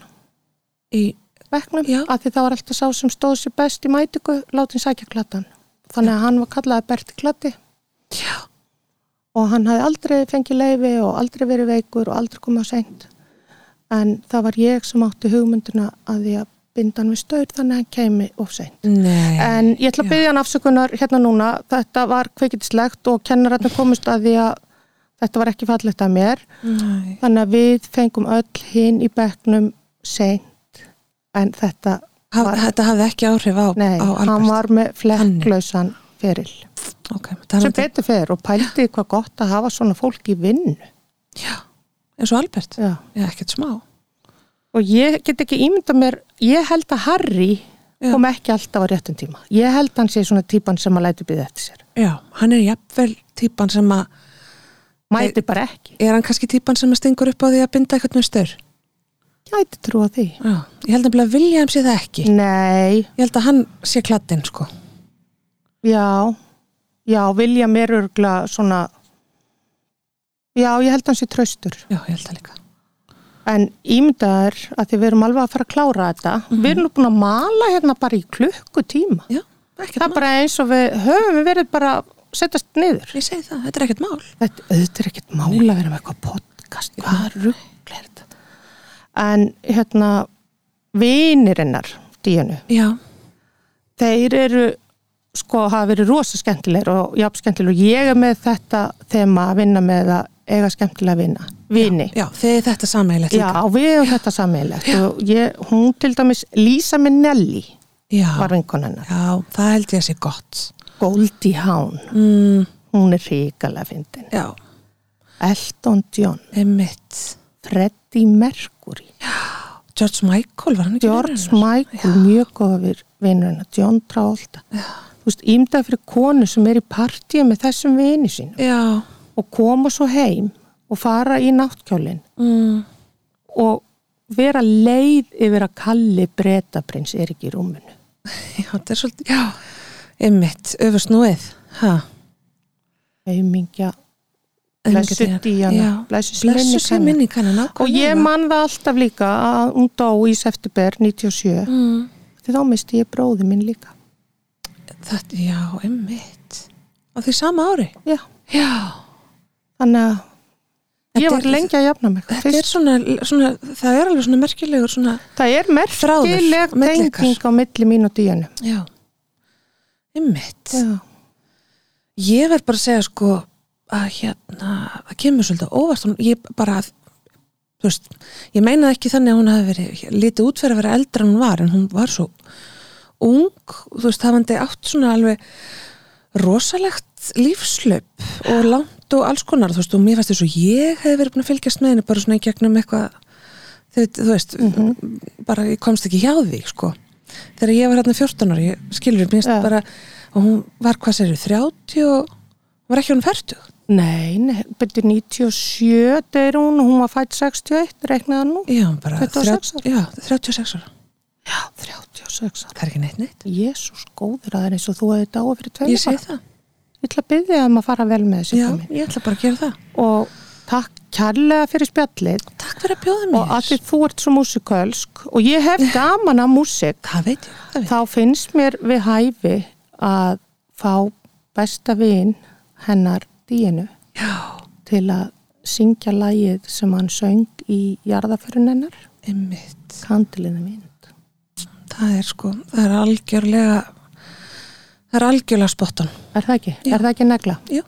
S3: í,
S2: bekknum
S3: Já.
S2: að því það var alltaf sá sem stóð sér best í mætingu látin sækja klattan þannig að hann var kallaði Berti Klatti
S3: já,
S2: og hann hafði aldrei fengið leifi og aldrei verið veikur og aldrei komið á seint en það var ég sem átti hugmyndina að því að binda hann við staur þannig að hann kemi of seint
S3: nei
S2: en ég ætla að byggja hann afsökunar hérna núna þetta var kveikindislegt og kennararnir komust að því að þetta var ekki fallegt að mér
S3: nei,
S2: þannig að við fengum öll hinn í bekknum seint en þetta
S3: Haf, þetta hafði ekki áhrif á,
S2: Nei,
S3: á
S2: hann
S3: Albert
S2: var með flekklausan feril.
S3: okay, það
S2: Sem
S3: er
S2: betur fer og pældi hvað gott að hafa svona fólk í vinnu.
S3: já, eins og Albert
S2: Já.
S3: já, ekkert smá
S2: Og ég get ekki ímynda mér, ég held að Harry
S3: Já.
S2: kom ekki alltaf á réttum tíma. Ég held að hann sé svona típan sem að læti byggði eftir sér.
S3: já, hann er jafnvel típan sem að
S2: Mæti bara ekki.
S3: er hann kannski típan sem að stingur upp á því að binda eitthvað með stör
S2: Gæti trúa því.
S3: já, ég held nefnilega að William sé það ekki
S2: Nei,
S3: ég held að hann sé kladdinn sko
S2: já, já, vilja mér örgla svona, já, ég held að hann sé traustur.
S3: já, ég held það líka
S2: En ímyndaður að því við erum alveg að fara að klára þetta, við erum nú búin að mala hérna bara í klukkutíma.
S3: já, ekkert
S2: Það er bara eins og við höfum við verið bara að setjast niður.
S3: Ég segi það, þetta er ekkert mál.
S2: Þetta auðvitað er ekkert mála að vera með eitthvað podcast, hvað ruggl er þetta? En hérna, vinirinnar díunu,
S3: Já,
S2: þeir eru sko hafa verið rosa skemmtilegir og jafn skemmtilegir og ég er með þetta þema að vinna með að eiga skemmtilega að vinna, vini.
S3: já, þegar þetta er sameiginlegt
S2: Já, við hefum þetta sammeilegt og ég, hún til dæmis Lisa Minnelli
S3: já,
S2: var vinkon hennar,
S3: já, það held ég að sé gott.
S2: Goldie Hawn
S3: Mm,
S2: hún er ríkalega fyndin
S3: já,
S2: Elton John,
S3: einmitt.
S2: Freddie Mercury
S3: George Michael var hann ekki
S2: George
S3: vinur hennar?
S2: Michael, mjög góður vinnur hennar, John Travolta þú veist, ímdað fyrir konu sem er í partíu með þessum vini sín
S3: Já,
S2: og koma svo heim og fara í náttkjólin
S3: mm,
S2: og vera leið yfir að kalli bretaprins er ekki í rúminu
S3: já, þetta er svolítið, já, einmitt, öfust núið. Ha,
S2: heimingja blessu díjana, blessu
S3: blessu sér
S2: minni
S3: minning hennar
S2: og ég man það alltaf líka að hún dó í september 97
S3: mm.
S2: því þá misti ég bróði minn líka
S3: Þetta, já, einmitt á því sama ári
S2: já,
S3: já,
S2: þannig að
S3: Þetta
S2: ég
S3: er-
S2: var lengi að jafna mig
S3: þetta
S2: Fyrst,
S3: er svona, svona það er alveg svona merkilegur svona,
S2: það er merkileg
S3: Þráður á milli ykkar.
S2: tenging á milli mín og díjanu
S3: já einmitt
S2: já,
S3: ég verð bara að segja sko að hérna, það kemur svolítið á óvart hún, ég bara þú veist, ég meina það ekki þannig að hún hafi verið lítið út fyrir að vera eldra en hún var en hún var svo ung þú veist, hafandi átt svona alveg rosalegt lífslöp og langt og alls konar þú veist, og mér fannst þess að ég hefði verið búin að fylgjast með henni bara svona í gegnum eitthvað þú veit, þú veist,
S2: Mhm.
S3: bara ég komst ekki hjá því, sko þegar ég var hérna 14 ára, ég skilur mér
S2: Já.
S3: ja. bara, og hún var hvað sér 30 og hún var ekki hún 40
S2: nei, nei byrju 97 er hún, hún var fætt 61, reiknaði hann nú
S3: já, hún bara
S2: 26 ára.
S3: já, 36 ára,
S2: já, 36 ára
S3: það er ekki neitt neitt
S2: Jésús góður að það er eins og þú hefði dáið fyrir tveim
S3: ég segi það,
S2: Ég ætla að byggja um að fara vel með þessi
S3: já,
S2: komin.
S3: ég ætla bara að gera það
S2: Og takk kærlega fyrir spjallið
S3: takk fyrir að bjóða
S2: og að því
S3: mér,
S2: þú ert svo músikölsk og ég hef gaman að músik
S3: það veit ég það veit.
S2: þá finnst mér við hæfi að fá besta vin hennar díinu
S3: já,
S2: til að syngja lagið sem hann söng í jarðaförun hennar,
S3: einmitt
S2: Kandilinu vind.
S3: það er sko, það er algjörlega það er algjörlega spottan
S2: Er það ekki?
S3: Já.
S2: Er það ekki negla?
S3: já,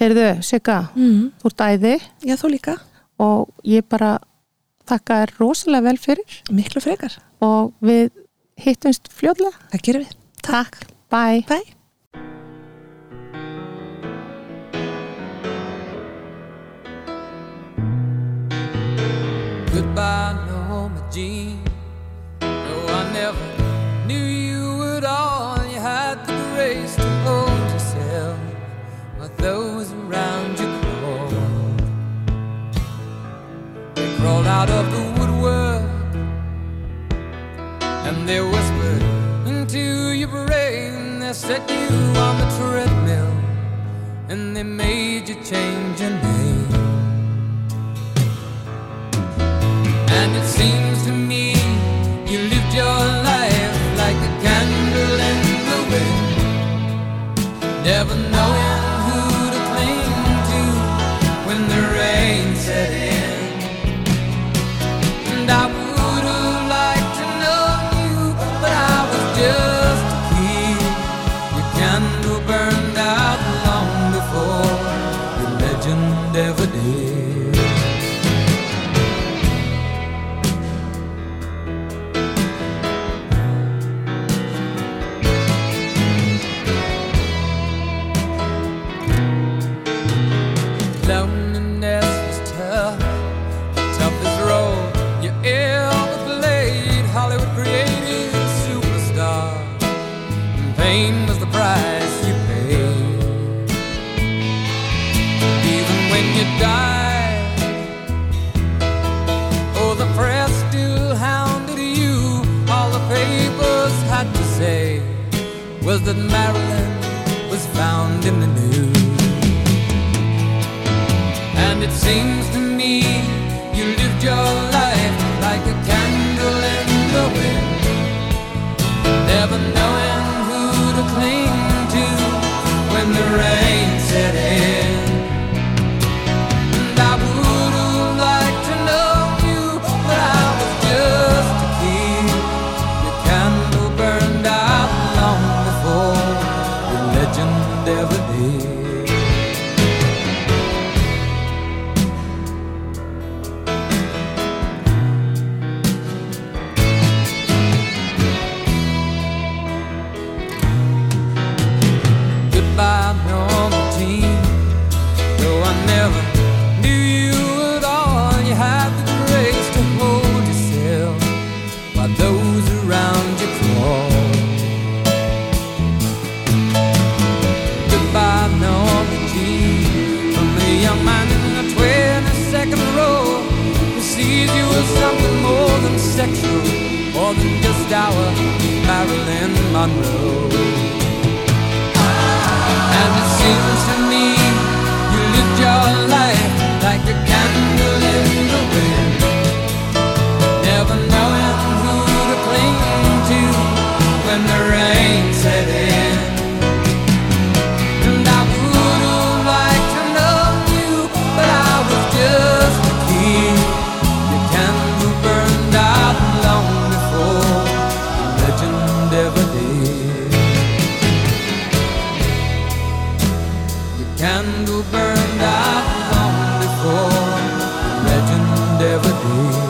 S2: Heyrðu, Sigga,
S3: mm.
S2: þú ert æði
S3: já þú líka,
S2: og ég bara þakka þér rosalega vel fyrir
S3: miklu frekar
S2: og við hittumst fljóðlega.
S3: það gerum við,
S2: Takk. Bye.
S3: bye
S4: Goodbye, Norma Jean. No, I never knew you at all. You had the grace to hold yourself while those around you crawled. They crawled out of the woodwork and they whispered into your brain. They set you on the treadmill and they made you change your name. And it seems to me you lived your life like a candle in the wind, never knowing who to cling to when the rain set in. And I would have liked to know you, but I was just a kid. Your candle burned out long before your legend ever did. Loneliness was tough, the toughest role you ever played. Hollywood created a superstar, and pain was the price you paid. Even when you died, oh, the press still hounded you. All the papers had to say was that Marilyn was found in the news. And it seems to me you lived your life like a candle in the wind, never knowing who to cling to when the rain set in. And I would have liked to know you, but I was just a kid. Your candle burned out long before your legend ever did. goodbye normal team. Though I never knew you at all, you have the grace to hold yourself while those around you crawl. Goodbye normal team. From the young man in the 22nd row who sees you as something more than sexual, more than just our Marilyn Monroe. And it seems to me you lived your life candle burned out long before legend ever did.